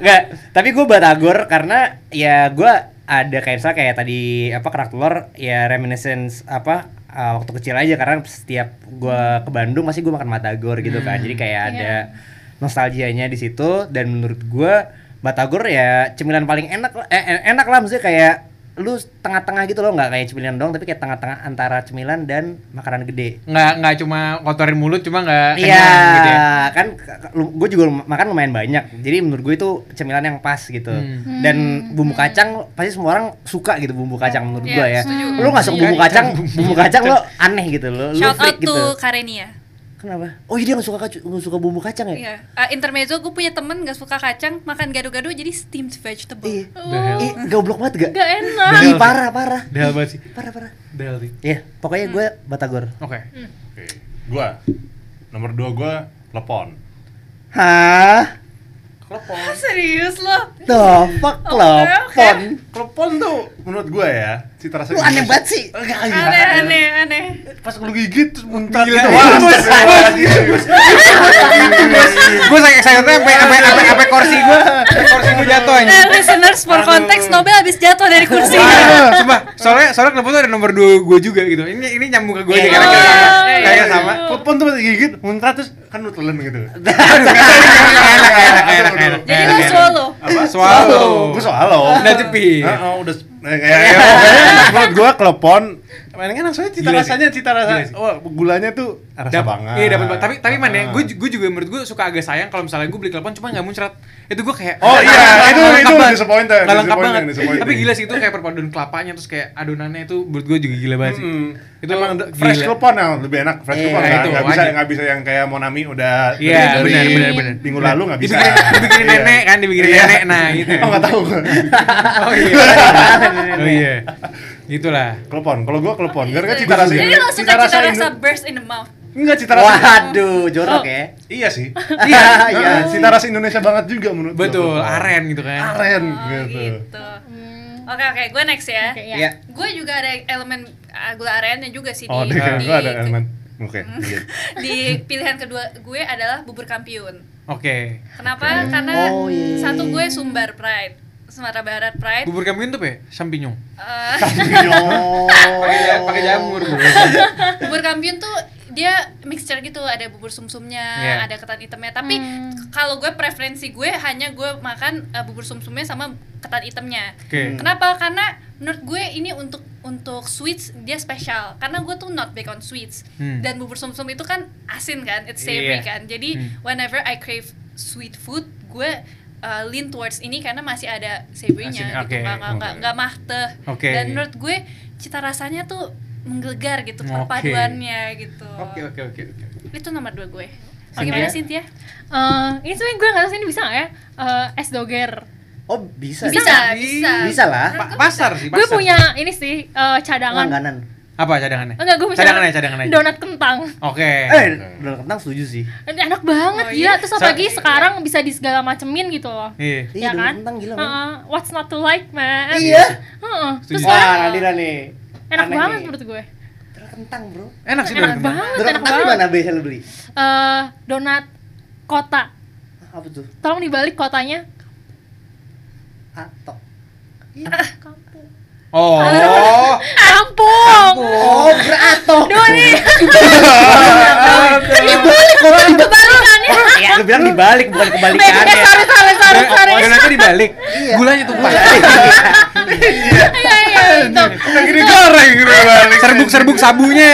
[SPEAKER 2] Enggak, tapi gue Batagor karena ya gue ada kayak misalnya kayak tadi apa kerak telur ya reminiscence apa uh, waktu kecil aja karena setiap gue ke Bandung pasti gue makan batagor gitu kan jadi kayak ada nostalgianya di situ dan menurut gue batagor ya cemilan paling enak lah- eh, en- enak lah maksudnya kayak lu tengah-tengah gitu loh nggak kayak cemilan dong tapi kayak tengah-tengah antara cemilan dan makanan gede
[SPEAKER 3] Nggak nggak cuma kotorin mulut cuma nggak
[SPEAKER 2] Iya,
[SPEAKER 3] kenyang gitu ya.
[SPEAKER 2] kan gue juga lum- makan lumayan banyak. Jadi menurut gue itu cemilan yang pas gitu.
[SPEAKER 3] Hmm.
[SPEAKER 2] Dan bumbu kacang pasti semua orang suka gitu bumbu kacang menurut
[SPEAKER 5] Iya,
[SPEAKER 2] gue ya.
[SPEAKER 5] setuju. Iya,
[SPEAKER 2] Lu nggak suka bumbu
[SPEAKER 3] Kacang,
[SPEAKER 2] kacang,
[SPEAKER 3] bumbu
[SPEAKER 2] bumbu kacang lo aneh gitu lo, lu
[SPEAKER 5] shout out
[SPEAKER 2] freak gitu.
[SPEAKER 5] to Karenia
[SPEAKER 2] Kenapa? Oh, iya dia nggak suka kacu- nggak suka bumbu kacang ya?
[SPEAKER 5] Iya, Ah, intermezzo gue punya temen gak suka kacang, makan gado-gado jadi steamed
[SPEAKER 2] Iya.
[SPEAKER 5] vegetable. Uhuh.
[SPEAKER 2] Ih, goblok banget gak?
[SPEAKER 6] Gak enak.
[SPEAKER 2] Ih, parah, parah.
[SPEAKER 3] Dahal banget sih.
[SPEAKER 2] Parah, parah.
[SPEAKER 3] Dahal sih.
[SPEAKER 2] Iya, pokoknya gue
[SPEAKER 5] Hmm.
[SPEAKER 2] Batagor.
[SPEAKER 3] Oke.
[SPEAKER 4] Oke, gue nomor dua gue lepon.
[SPEAKER 2] Hah?
[SPEAKER 5] Ah, Serius lo?
[SPEAKER 2] The fuck
[SPEAKER 5] Oh, Oke,
[SPEAKER 2] lepon.
[SPEAKER 4] Lepon tuh menurut gue ya cita rasanya.
[SPEAKER 2] Lu aneh banget sih.
[SPEAKER 4] Enggak, iya.
[SPEAKER 5] Aneh, aneh, aneh.
[SPEAKER 4] Pas lu gigit terus muntah
[SPEAKER 3] Gila,
[SPEAKER 4] gitu. Wah,
[SPEAKER 3] bos,
[SPEAKER 4] astagfirullahaladzim.
[SPEAKER 3] Gue saya saya sampai sampai sampai sampai kursi gue kursi gue jatuh
[SPEAKER 2] Iya.
[SPEAKER 3] aja.
[SPEAKER 5] Nah, listeners for context, Nobel habis jatuh dari
[SPEAKER 6] Eh,
[SPEAKER 5] kursi.
[SPEAKER 4] Iya,
[SPEAKER 3] Ah, Sumpah, soalnya soalnya kenapa tuh ada nomor 2 gue juga gitu. Ini ini nyambung ke gue nih
[SPEAKER 2] Iya.
[SPEAKER 3] karena kayak sama.
[SPEAKER 6] Iya, iya,
[SPEAKER 3] Kayak
[SPEAKER 6] iya.
[SPEAKER 3] sama.
[SPEAKER 4] Pun tuh masih gigit, muntah terus kan lu telan gitu.
[SPEAKER 3] Enak enak enak enak. enak,
[SPEAKER 5] Jadi lo
[SPEAKER 4] iya.
[SPEAKER 3] enak.
[SPEAKER 5] swallow.
[SPEAKER 4] Apa?
[SPEAKER 3] Swallow.
[SPEAKER 4] Gue swallow.
[SPEAKER 3] Udah jepit.
[SPEAKER 4] Heeh, udah s- eh, kayak kayak- kayak menurut gue klepon Mainnya langsung aja cita
[SPEAKER 3] Gila sih.
[SPEAKER 4] rasanya, cita
[SPEAKER 3] Gila
[SPEAKER 4] rasa.
[SPEAKER 3] sih.
[SPEAKER 4] Wah, gulanya tuh rasa
[SPEAKER 3] Dap-
[SPEAKER 4] banget.
[SPEAKER 3] Iya dapat banget. Tapi tapi man ya,
[SPEAKER 4] Ah.
[SPEAKER 3] gue gue juga menurut gue suka agak sayang kalau misalnya gue beli klepon cuma nggak muncrat. Itu gue kayak
[SPEAKER 4] Oh iya,
[SPEAKER 3] nggak
[SPEAKER 4] itu-
[SPEAKER 3] lengkap
[SPEAKER 4] itu
[SPEAKER 3] banget.
[SPEAKER 4] disappointed,
[SPEAKER 3] Nggak lengkap
[SPEAKER 4] disappointing,
[SPEAKER 3] banget.
[SPEAKER 4] disappointing.
[SPEAKER 3] Tapi gila sih itu kayak perpaduan kelapanya terus kayak adonannya itu menurut gue juga gila banget sih.
[SPEAKER 4] Mm-mm.
[SPEAKER 3] Itu
[SPEAKER 4] Hmm. emang
[SPEAKER 3] gila.
[SPEAKER 4] fresh klepon yang lebih enak fresh
[SPEAKER 2] Iya,
[SPEAKER 4] klepon
[SPEAKER 3] iya,
[SPEAKER 4] kan
[SPEAKER 3] itu
[SPEAKER 4] nggak bisa
[SPEAKER 3] wajib.
[SPEAKER 4] nggak bisa yang kayak Monami udah
[SPEAKER 3] Iya,
[SPEAKER 4] dari-
[SPEAKER 3] benar
[SPEAKER 4] dari
[SPEAKER 3] benar benar.
[SPEAKER 4] minggu lalu nggak bisa
[SPEAKER 3] Dibikinin, dibikinin
[SPEAKER 4] Iya.
[SPEAKER 3] nenek kan, dibikinin
[SPEAKER 4] Iya.
[SPEAKER 3] nenek. Nah, gitu.
[SPEAKER 4] oh nggak tahu gue
[SPEAKER 3] Oh iya. oh iya. Gitulah.
[SPEAKER 4] klepon kalau gue klepon gara-gara cita
[SPEAKER 3] Gua
[SPEAKER 4] rasa
[SPEAKER 3] juga.
[SPEAKER 5] Jadi lo suka cita rasa
[SPEAKER 4] Indo-
[SPEAKER 5] burst in the mouth.
[SPEAKER 4] enggak cita rasa
[SPEAKER 2] Waduh, jorok
[SPEAKER 5] Oh.
[SPEAKER 2] ya.
[SPEAKER 4] iya sih
[SPEAKER 2] Iya, iya.
[SPEAKER 4] iya cita rasa Indonesia banget juga menurut gua
[SPEAKER 3] Ah, Betul,
[SPEAKER 4] klepon.
[SPEAKER 3] aren gitu kan.
[SPEAKER 4] aren
[SPEAKER 5] Oh,
[SPEAKER 4] gitu
[SPEAKER 5] gitu.
[SPEAKER 6] Hmm,
[SPEAKER 5] Oke oke, gue next ya.
[SPEAKER 6] Oke,
[SPEAKER 2] Iya.
[SPEAKER 6] ya.
[SPEAKER 5] Gue juga ada elemen uh, gula arennya juga sih
[SPEAKER 4] oh
[SPEAKER 5] di,
[SPEAKER 4] deh
[SPEAKER 5] di,
[SPEAKER 4] gue ada elemen oke
[SPEAKER 5] Mm.
[SPEAKER 4] iya.
[SPEAKER 5] di pilihan kedua gue adalah bubur kampiun.
[SPEAKER 3] Oke.
[SPEAKER 5] Kenapa? Karena
[SPEAKER 2] Oh, iya.
[SPEAKER 5] satu gue Sumbar Pride, Sumatera Barat Pride.
[SPEAKER 3] Bubur kambing tuh pe, sampinyong.
[SPEAKER 5] Eh,
[SPEAKER 6] Oh,
[SPEAKER 4] Oh, iya.
[SPEAKER 6] iya,
[SPEAKER 3] Pakai pakai jamur. bro.
[SPEAKER 5] bubur kampiun tuh dia mixture gitu, ada bubur sumsumnya,
[SPEAKER 3] Iya.
[SPEAKER 5] ada ketan hitamnya. Tapi
[SPEAKER 6] Hmm.
[SPEAKER 5] k- kalau gue preferensi gue hanya gue makan eh, bubur sumsumnya sama ketan hitamnya.
[SPEAKER 3] Oke.
[SPEAKER 5] Kenapa? Karena menurut gue ini untuk untuk sweets dia spesial. Karena gue tuh not big on sweets.
[SPEAKER 3] Hmm.
[SPEAKER 5] Dan bubur sumsum itu kan asin kan, it's
[SPEAKER 3] Iya.
[SPEAKER 5] savory kan. Jadi
[SPEAKER 3] Hmm.
[SPEAKER 5] whenever I crave sweet food, gue uh, lean towards ini karena masih ada savory-nya
[SPEAKER 3] Asin,
[SPEAKER 5] gitu.
[SPEAKER 3] oke.
[SPEAKER 5] Nggak, nggak, nggak, nggak mahteh.
[SPEAKER 3] Oke.
[SPEAKER 5] Dan menurut gue cita rasanya tuh menggelegar gitu
[SPEAKER 3] Oke.
[SPEAKER 5] perpaduannya gitu.
[SPEAKER 3] Oke, oke, oke. oke.
[SPEAKER 5] Itu nomor dua gue. Bagaimana
[SPEAKER 3] Oke.
[SPEAKER 5] Cynthia?
[SPEAKER 6] Eh, ini sebenarnya gue nggak tahu sih ini bisa nggak ya Eh, es doger.
[SPEAKER 2] Oh, bisa.
[SPEAKER 5] Bisa,
[SPEAKER 3] Bisa.
[SPEAKER 5] bisa.
[SPEAKER 2] Bisa lah.
[SPEAKER 3] Pa- pasar sih,
[SPEAKER 6] Gue
[SPEAKER 3] pasar.
[SPEAKER 6] punya ini sih eh, cadangan.
[SPEAKER 2] Langganan.
[SPEAKER 3] apa cadangannya?
[SPEAKER 6] Enggak, gue punya
[SPEAKER 3] cadangan aja, cadangan aja.
[SPEAKER 6] Donat kentang.
[SPEAKER 3] Oke.
[SPEAKER 2] Eh, donat kentang setuju sih.
[SPEAKER 6] Ini enak banget,
[SPEAKER 5] Oh,
[SPEAKER 6] gila.
[SPEAKER 5] iya.
[SPEAKER 6] Terus
[SPEAKER 3] Sa-
[SPEAKER 6] apalagi sekarang bisa di segala macemin gitu loh.
[SPEAKER 3] Iya.
[SPEAKER 2] Iya,
[SPEAKER 6] Iya
[SPEAKER 2] donat
[SPEAKER 6] kan?
[SPEAKER 2] kentang gila, men.
[SPEAKER 6] Heeh, what's not to like, man?
[SPEAKER 2] Iya.
[SPEAKER 6] Heeh. Terus
[SPEAKER 3] Setuju. Ah,
[SPEAKER 6] orang
[SPEAKER 2] Wah, Nadira nih.
[SPEAKER 6] enak
[SPEAKER 2] Aneh
[SPEAKER 6] banget
[SPEAKER 2] nih.
[SPEAKER 6] menurut gue.
[SPEAKER 2] Donat kentang, Bro.
[SPEAKER 3] Enak sih
[SPEAKER 6] Enak
[SPEAKER 3] donat kentang.
[SPEAKER 6] banget,
[SPEAKER 2] Donat
[SPEAKER 6] enak
[SPEAKER 2] kentang di
[SPEAKER 6] banget.
[SPEAKER 2] mana biasa lu beli?
[SPEAKER 6] Eh, donat kota.
[SPEAKER 2] Ah, Apa tuh?
[SPEAKER 6] Tolong dibalik kotanya.
[SPEAKER 2] Atok.
[SPEAKER 3] Oh.
[SPEAKER 6] Iya, Kampung.
[SPEAKER 2] Oh, beratok.
[SPEAKER 6] Doni.
[SPEAKER 3] Iya,
[SPEAKER 5] Kebalikannya.
[SPEAKER 2] Ya, lu bilang dibalik bukan
[SPEAKER 3] Iya,
[SPEAKER 6] Eh,
[SPEAKER 2] kebalikannya.
[SPEAKER 6] sorry, sorry, sorry, sorry.
[SPEAKER 3] Donatnya dibalik.
[SPEAKER 2] Iya.
[SPEAKER 3] Gulanya tumpah.
[SPEAKER 6] Iya, iya, itu.
[SPEAKER 4] Yang gini goreng gitu balik.
[SPEAKER 3] Serbuk-serbuk sabunya.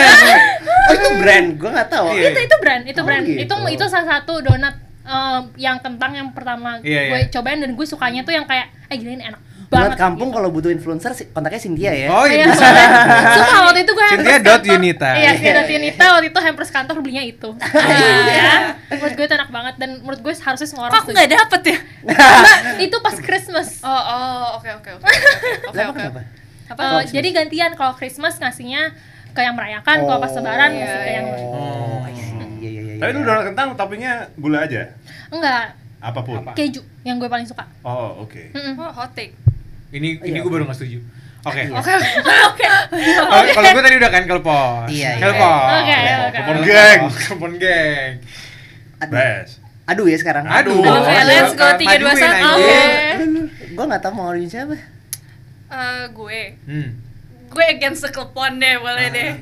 [SPEAKER 2] Oh, itu brand. Gua nggak tahu.
[SPEAKER 3] Iya.
[SPEAKER 6] Itu itu brand, itu
[SPEAKER 2] Oh,
[SPEAKER 6] brand.
[SPEAKER 2] gitu.
[SPEAKER 6] Itu itu salah satu donat em, yang kentang yang pertama
[SPEAKER 3] Iya, iya.
[SPEAKER 6] gue cobain dan gue sukanya tuh yang kayak eh gila ini enak
[SPEAKER 2] Buat
[SPEAKER 6] banget.
[SPEAKER 2] kampung kalau butuh influencer si- kontaknya Cynthia ya.
[SPEAKER 3] Oh iya.
[SPEAKER 6] Iya,
[SPEAKER 3] bisa.
[SPEAKER 6] soalnya suka waktu itu gue
[SPEAKER 3] Cynthia
[SPEAKER 6] hampers
[SPEAKER 3] dot
[SPEAKER 6] kantor.
[SPEAKER 3] Yunita.
[SPEAKER 6] Iya, Cynthia dot Yunita waktu itu hampers kantor belinya itu. Iya. Menurut gue itu enak banget dan menurut gue harusnya semua
[SPEAKER 5] Kok
[SPEAKER 6] orang
[SPEAKER 5] aku nggak dapet ya?
[SPEAKER 6] Mbak, itu pas Christmas.
[SPEAKER 5] Oh, oh, oke, oke, oke, oke, oke,
[SPEAKER 2] Lah, emang
[SPEAKER 5] oke.
[SPEAKER 2] kenapa?
[SPEAKER 5] Apa?
[SPEAKER 6] Eh, jadi gantian kalau Christmas ngasihnya ke yang merayakan, kalau pas lebaran
[SPEAKER 5] iya,
[SPEAKER 6] ngasih ke yang
[SPEAKER 2] Oh, I see. Iya, iya, iya.
[SPEAKER 4] Tapi
[SPEAKER 2] iya.
[SPEAKER 4] lu donat kentang toppingnya gula aja.
[SPEAKER 6] enggak
[SPEAKER 4] Apapun.
[SPEAKER 3] Apa?
[SPEAKER 6] keju yang gue paling suka.
[SPEAKER 4] Oh, oke.
[SPEAKER 6] Mm-mm.
[SPEAKER 5] Oh, hot take.
[SPEAKER 3] Ini
[SPEAKER 2] Iya.
[SPEAKER 3] ini gue baru nggak setuju. Oke.
[SPEAKER 5] Oke, oke, oke.
[SPEAKER 3] Kalau kalau gue tadi udah kan kelpon.
[SPEAKER 2] Iya, iya.
[SPEAKER 3] Kelpon.
[SPEAKER 6] Oke, oke.
[SPEAKER 4] Kelpon geng.
[SPEAKER 3] Kelpon geng.
[SPEAKER 2] Aduh,
[SPEAKER 4] Best.
[SPEAKER 2] aduh ya sekarang.
[SPEAKER 3] Aduh.
[SPEAKER 5] Oke, let's go.
[SPEAKER 3] Maduin,
[SPEAKER 5] Tiga, dua, satu.
[SPEAKER 3] anjing.
[SPEAKER 2] Aduh, Gua nggak tahu mau orange siapa.
[SPEAKER 5] Eh, gue.
[SPEAKER 3] Hmm.
[SPEAKER 5] gue against the klepon deh
[SPEAKER 3] Ah.
[SPEAKER 5] boleh deh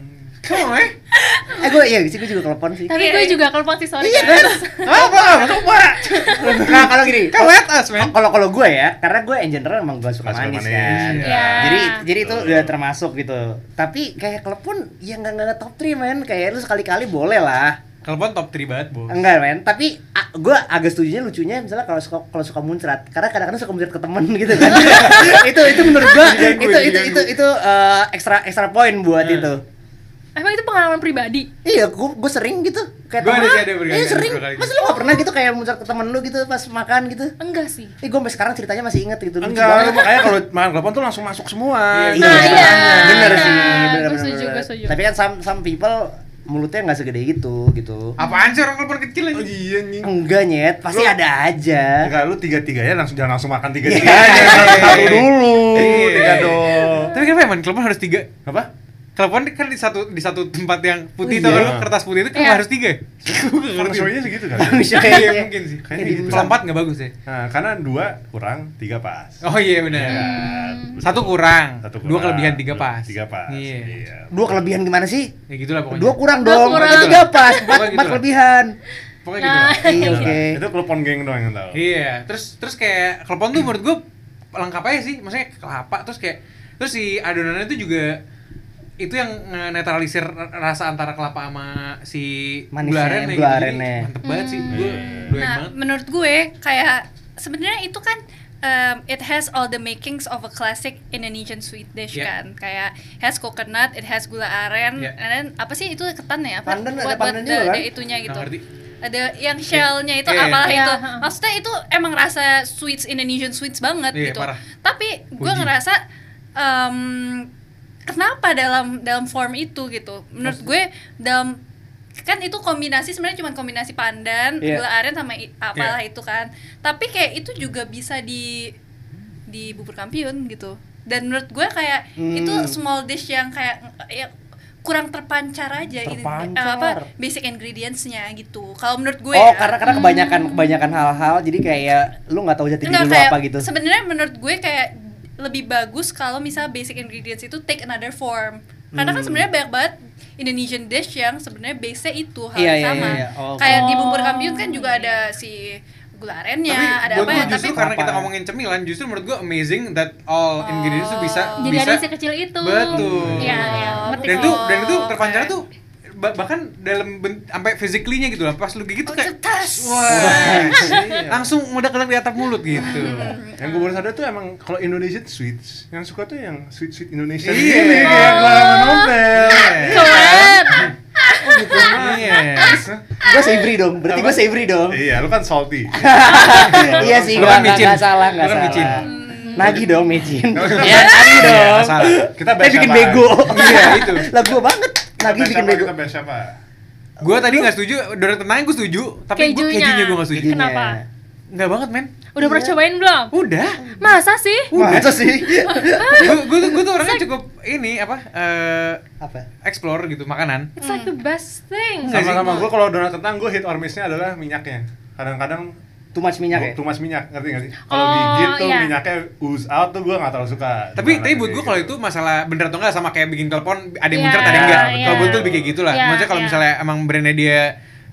[SPEAKER 3] Come on, eh.
[SPEAKER 2] Eh, gua iya sih gua juga telepon sih.
[SPEAKER 6] Tapi
[SPEAKER 5] Iya,
[SPEAKER 6] gue
[SPEAKER 5] iya.
[SPEAKER 6] juga kelepon sih sorry.
[SPEAKER 2] Iya,
[SPEAKER 6] guys.
[SPEAKER 2] kan?
[SPEAKER 3] Apa? Apa?
[SPEAKER 2] Nah, kalau gini,
[SPEAKER 3] Come at us, man.
[SPEAKER 2] kalau kalau gue ya, karena gue in general emang gue suka
[SPEAKER 4] Nggak suka
[SPEAKER 2] manis,
[SPEAKER 4] manis,
[SPEAKER 2] kan.
[SPEAKER 4] iya.
[SPEAKER 6] Iya.
[SPEAKER 2] Jadi jadi itu
[SPEAKER 4] Betul.
[SPEAKER 2] udah termasuk gitu. Tapi kayak klepon ya nggak nggak top 3 men. Kayak lu sekali-kali boleh lah.
[SPEAKER 3] Kelpon top 3 banget, Bo.
[SPEAKER 2] Enggak men, tapi a- gue agak setujunya lucunya misalnya kalau suka kalau suka muncrat karena kadang-kadang suka muncrat ke temen gitu kan. itu itu menurut gue
[SPEAKER 3] Diganggu,
[SPEAKER 2] itu itu itu
[SPEAKER 3] diganggu.
[SPEAKER 2] itu eh, ekstra ekstra poin buat
[SPEAKER 3] Hmm.
[SPEAKER 2] itu.
[SPEAKER 6] Emang itu pengalaman pribadi.
[SPEAKER 2] Iya, gue gue sering gitu kayak
[SPEAKER 3] Gua ada
[SPEAKER 2] temen,
[SPEAKER 3] sih, ada berkali-
[SPEAKER 2] Iya
[SPEAKER 3] ada
[SPEAKER 2] sering.
[SPEAKER 3] berkali.
[SPEAKER 2] Mas lu gak pernah gitu kayak muncrat ke temen lu gitu pas makan gitu.
[SPEAKER 6] Enggak sih.
[SPEAKER 2] Eh gue sampai sekarang ceritanya masih inget gitu. lucu
[SPEAKER 4] Enggak,
[SPEAKER 2] banget.
[SPEAKER 4] lu makanya kalau makan klepon tuh langsung masuk semua.
[SPEAKER 2] Iya,
[SPEAKER 6] Nah, iya.
[SPEAKER 2] bener
[SPEAKER 6] Nah,
[SPEAKER 2] sih,
[SPEAKER 6] gua
[SPEAKER 2] bener, bener,
[SPEAKER 6] setuju,
[SPEAKER 2] bener.
[SPEAKER 6] gua setuju.
[SPEAKER 2] Tapi kan some, some people mulutnya nggak segede itu gitu.
[SPEAKER 3] Apaan sih orang kelpon kecil aja?
[SPEAKER 4] Iya nih.
[SPEAKER 2] Enggak nyet, pasti
[SPEAKER 4] Lu-
[SPEAKER 2] ada aja.
[SPEAKER 4] Enggak, lu tiga-tiganya langsung jangan langsung makan tiga-tiganya.
[SPEAKER 3] Iya.
[SPEAKER 4] Tahu dulu.
[SPEAKER 3] Iya.
[SPEAKER 4] Tiga dong.
[SPEAKER 3] Tapi kenapa emang kelpon harus tiga?
[SPEAKER 4] Apa?
[SPEAKER 3] Kelakuan kan di satu di satu tempat yang putih
[SPEAKER 2] Iya.
[SPEAKER 3] tuh kalau kertas putih itu kenapa
[SPEAKER 6] Iya.
[SPEAKER 3] harus tiga? ya? Gua nggak
[SPEAKER 4] Feng
[SPEAKER 3] ngerti.
[SPEAKER 4] shui-nya segitu kan
[SPEAKER 3] Iya mungkin sih.
[SPEAKER 4] Kayaknya gitu.
[SPEAKER 3] Kalau empat nggak bagus ya.
[SPEAKER 4] nah, karena dua kurang tiga pas
[SPEAKER 3] Oh iya benar.
[SPEAKER 4] Ya,
[SPEAKER 3] Satu kurang,
[SPEAKER 4] Satu
[SPEAKER 3] dua
[SPEAKER 4] kurang,
[SPEAKER 3] kelebihan tiga
[SPEAKER 4] dua-
[SPEAKER 3] pas.
[SPEAKER 4] tiga pas
[SPEAKER 3] Iya.
[SPEAKER 4] iya.
[SPEAKER 2] Dua kelebihan gimana sih?
[SPEAKER 3] Ya gitulah pokoknya.
[SPEAKER 2] Dua kurang
[SPEAKER 6] Dua
[SPEAKER 2] dong,
[SPEAKER 6] kurang.
[SPEAKER 2] Pokoknya tiga pas,
[SPEAKER 3] Pokoknya
[SPEAKER 2] empat,
[SPEAKER 3] gitu
[SPEAKER 2] empat
[SPEAKER 3] lah.
[SPEAKER 2] kelebihan.
[SPEAKER 3] Pokoknya gitu.
[SPEAKER 6] Nah,
[SPEAKER 3] lah.
[SPEAKER 2] Iya, oke.
[SPEAKER 4] itu klepon geng doang yang tahu
[SPEAKER 3] Iya, terus terus kayak klepon tuh menurut gue lengkap aja sih, maksudnya kelapa terus kayak terus si adonannya itu juga itu yang netralisir rasa antara kelapa sama si
[SPEAKER 2] Manisnya,
[SPEAKER 3] gula arennya gitu.
[SPEAKER 2] gula
[SPEAKER 3] Jadi
[SPEAKER 2] arennya.
[SPEAKER 3] Mantep banget sih, gue doyan
[SPEAKER 5] Nah,
[SPEAKER 3] banget.
[SPEAKER 5] menurut gue kayak sebenarnya itu kan um, it has all the makings of a classic Indonesian sweet dish
[SPEAKER 3] Yeah.
[SPEAKER 5] kan. Kayak has coconut, it has gula aren,
[SPEAKER 3] Yeah.
[SPEAKER 5] and then apa sih itu ketan ya? Apa
[SPEAKER 2] Pandan, ada
[SPEAKER 5] buat, buat
[SPEAKER 2] pandan
[SPEAKER 5] the-
[SPEAKER 2] juga kan?
[SPEAKER 5] the itunya gitu.
[SPEAKER 3] Nggak ngerti.
[SPEAKER 5] Ada yang shellnya itu
[SPEAKER 2] Iya.
[SPEAKER 3] Yeah, yeah,
[SPEAKER 5] apalah
[SPEAKER 6] yeah.
[SPEAKER 5] itu.
[SPEAKER 6] Yeah.
[SPEAKER 5] Maksudnya itu emang rasa sweets Indonesian sweets banget
[SPEAKER 2] Iya,
[SPEAKER 3] Yeah,
[SPEAKER 5] gitu.
[SPEAKER 3] parah.
[SPEAKER 5] Tapi gue
[SPEAKER 3] Puji.
[SPEAKER 5] ngerasa um, kenapa dalam dalam form itu gitu. Menurut gue dalam kan itu kombinasi sebenarnya cuma kombinasi pandan,
[SPEAKER 2] Iya.
[SPEAKER 5] gula aren sama i- apalah itu kan. Tapi kayak itu juga bisa di di bubur kampiun gitu. Dan menurut gue kayak
[SPEAKER 2] Hmm.
[SPEAKER 5] itu small dish yang kayak ya, kurang terpancar aja gitu.
[SPEAKER 2] Terpancar.
[SPEAKER 5] Eh, apa basic ingredients-nya gitu. Kalau menurut gue
[SPEAKER 2] Oh,
[SPEAKER 5] ya.
[SPEAKER 2] karena karena kebanyakan kebanyakan hal-hal jadi kayak lu nggak tahu jati diri lu
[SPEAKER 5] Enggak, kayak
[SPEAKER 2] apa gitu.
[SPEAKER 5] Sebenarnya menurut gue kayak lebih bagus kalau misal basic ingredients itu take another form. Karena
[SPEAKER 2] Hmm.
[SPEAKER 5] kan sebenarnya banyak banget Indonesian dish yang sebenarnya base-nya itu hal
[SPEAKER 2] Iya,
[SPEAKER 5] yang
[SPEAKER 2] iya,
[SPEAKER 5] sama.
[SPEAKER 2] iya, iya. Oh, oke.
[SPEAKER 5] Kayak di bubur kampiun kan juga ada si gula arennya,
[SPEAKER 6] Iya,
[SPEAKER 5] ada
[SPEAKER 3] buat
[SPEAKER 5] apa
[SPEAKER 3] gue
[SPEAKER 5] ya, tapi
[SPEAKER 3] justru karena kita
[SPEAKER 2] Apa?
[SPEAKER 3] ngomongin cemilan, justru menurut gue amazing that all ingredients tuh bisa
[SPEAKER 6] Oh, Jadi
[SPEAKER 3] bisa
[SPEAKER 6] ada sekecil itu.
[SPEAKER 3] Betul.
[SPEAKER 6] Iya, iya. Ngerti
[SPEAKER 3] dan
[SPEAKER 6] kok.
[SPEAKER 3] itu dan itu terpancar
[SPEAKER 5] Oke.
[SPEAKER 3] tuh ba- bahkan dalam bent- sampai physically-nya gitu lah pas lu gigit tuh
[SPEAKER 5] Oh,
[SPEAKER 3] kayak
[SPEAKER 5] cetas.
[SPEAKER 3] wah langsung udah kena di atap mulut gitu
[SPEAKER 4] yang gue baru sadar tuh emang kalau Indonesian sweets yang suka tuh yang sweet sweet Indonesia
[SPEAKER 3] Iya.
[SPEAKER 4] gini kayak Clara Nobel
[SPEAKER 6] Keren.
[SPEAKER 3] iya
[SPEAKER 2] Gua savory dong, berarti
[SPEAKER 4] Apa?
[SPEAKER 2] gua savory dong.
[SPEAKER 4] iya lu kan salty
[SPEAKER 2] iya sih,
[SPEAKER 3] Lu
[SPEAKER 2] gua
[SPEAKER 3] kan
[SPEAKER 2] nggak
[SPEAKER 3] micin.
[SPEAKER 2] nggak salah nggak
[SPEAKER 3] Lu kan micin.
[SPEAKER 2] salah. Nagih dong, micin. Iya, nagih
[SPEAKER 3] Iya,
[SPEAKER 2] dong.
[SPEAKER 3] nggak salah.
[SPEAKER 4] kita
[SPEAKER 2] Kita bikin bego.
[SPEAKER 3] Iya, itu.
[SPEAKER 2] Lah gua banget. Nagih
[SPEAKER 4] Nagih
[SPEAKER 2] bikin bego.
[SPEAKER 4] kita bahas siapa
[SPEAKER 3] gue tadi nggak setuju donat tenang gue setuju tapi gue
[SPEAKER 6] Kejunya.
[SPEAKER 3] kejunya gue nggak setuju
[SPEAKER 2] Kejunya.
[SPEAKER 6] Kenapa?
[SPEAKER 3] nggak banget men
[SPEAKER 6] Udah
[SPEAKER 3] Iya.
[SPEAKER 6] pernah cobain belum?
[SPEAKER 3] udah
[SPEAKER 6] Masa sih?
[SPEAKER 2] Masa sih?
[SPEAKER 3] gue gue tuh, gua tuh orangnya cukup ini apa eh
[SPEAKER 2] Apa?
[SPEAKER 3] explore gitu makanan
[SPEAKER 6] It's like the best thing.
[SPEAKER 3] Nggak sih?
[SPEAKER 4] sama-sama gue kalau donat kentang gue hit or miss-nya adalah minyaknya kadang-kadang
[SPEAKER 2] Too much minyak ya?
[SPEAKER 4] tumas minyak ngerti nggak sih kalau
[SPEAKER 6] Oh,
[SPEAKER 4] gigit tuh
[SPEAKER 6] iya.
[SPEAKER 4] minyaknya ooze out tuh gue nggak terlalu suka
[SPEAKER 3] tapi tapi
[SPEAKER 4] Donat
[SPEAKER 3] buat gue
[SPEAKER 4] kayak
[SPEAKER 3] kalau
[SPEAKER 4] gitu.
[SPEAKER 3] itu masalah bener atau enggak sama kayak bikin telepon ada yang
[SPEAKER 6] Iya,
[SPEAKER 3] muncrat ada yang enggak
[SPEAKER 4] iya.
[SPEAKER 3] kalau buat gue lebih kayak gitulah
[SPEAKER 6] Iya,
[SPEAKER 3] maksudnya kalau
[SPEAKER 6] iya.
[SPEAKER 3] misalnya emang brandnya dia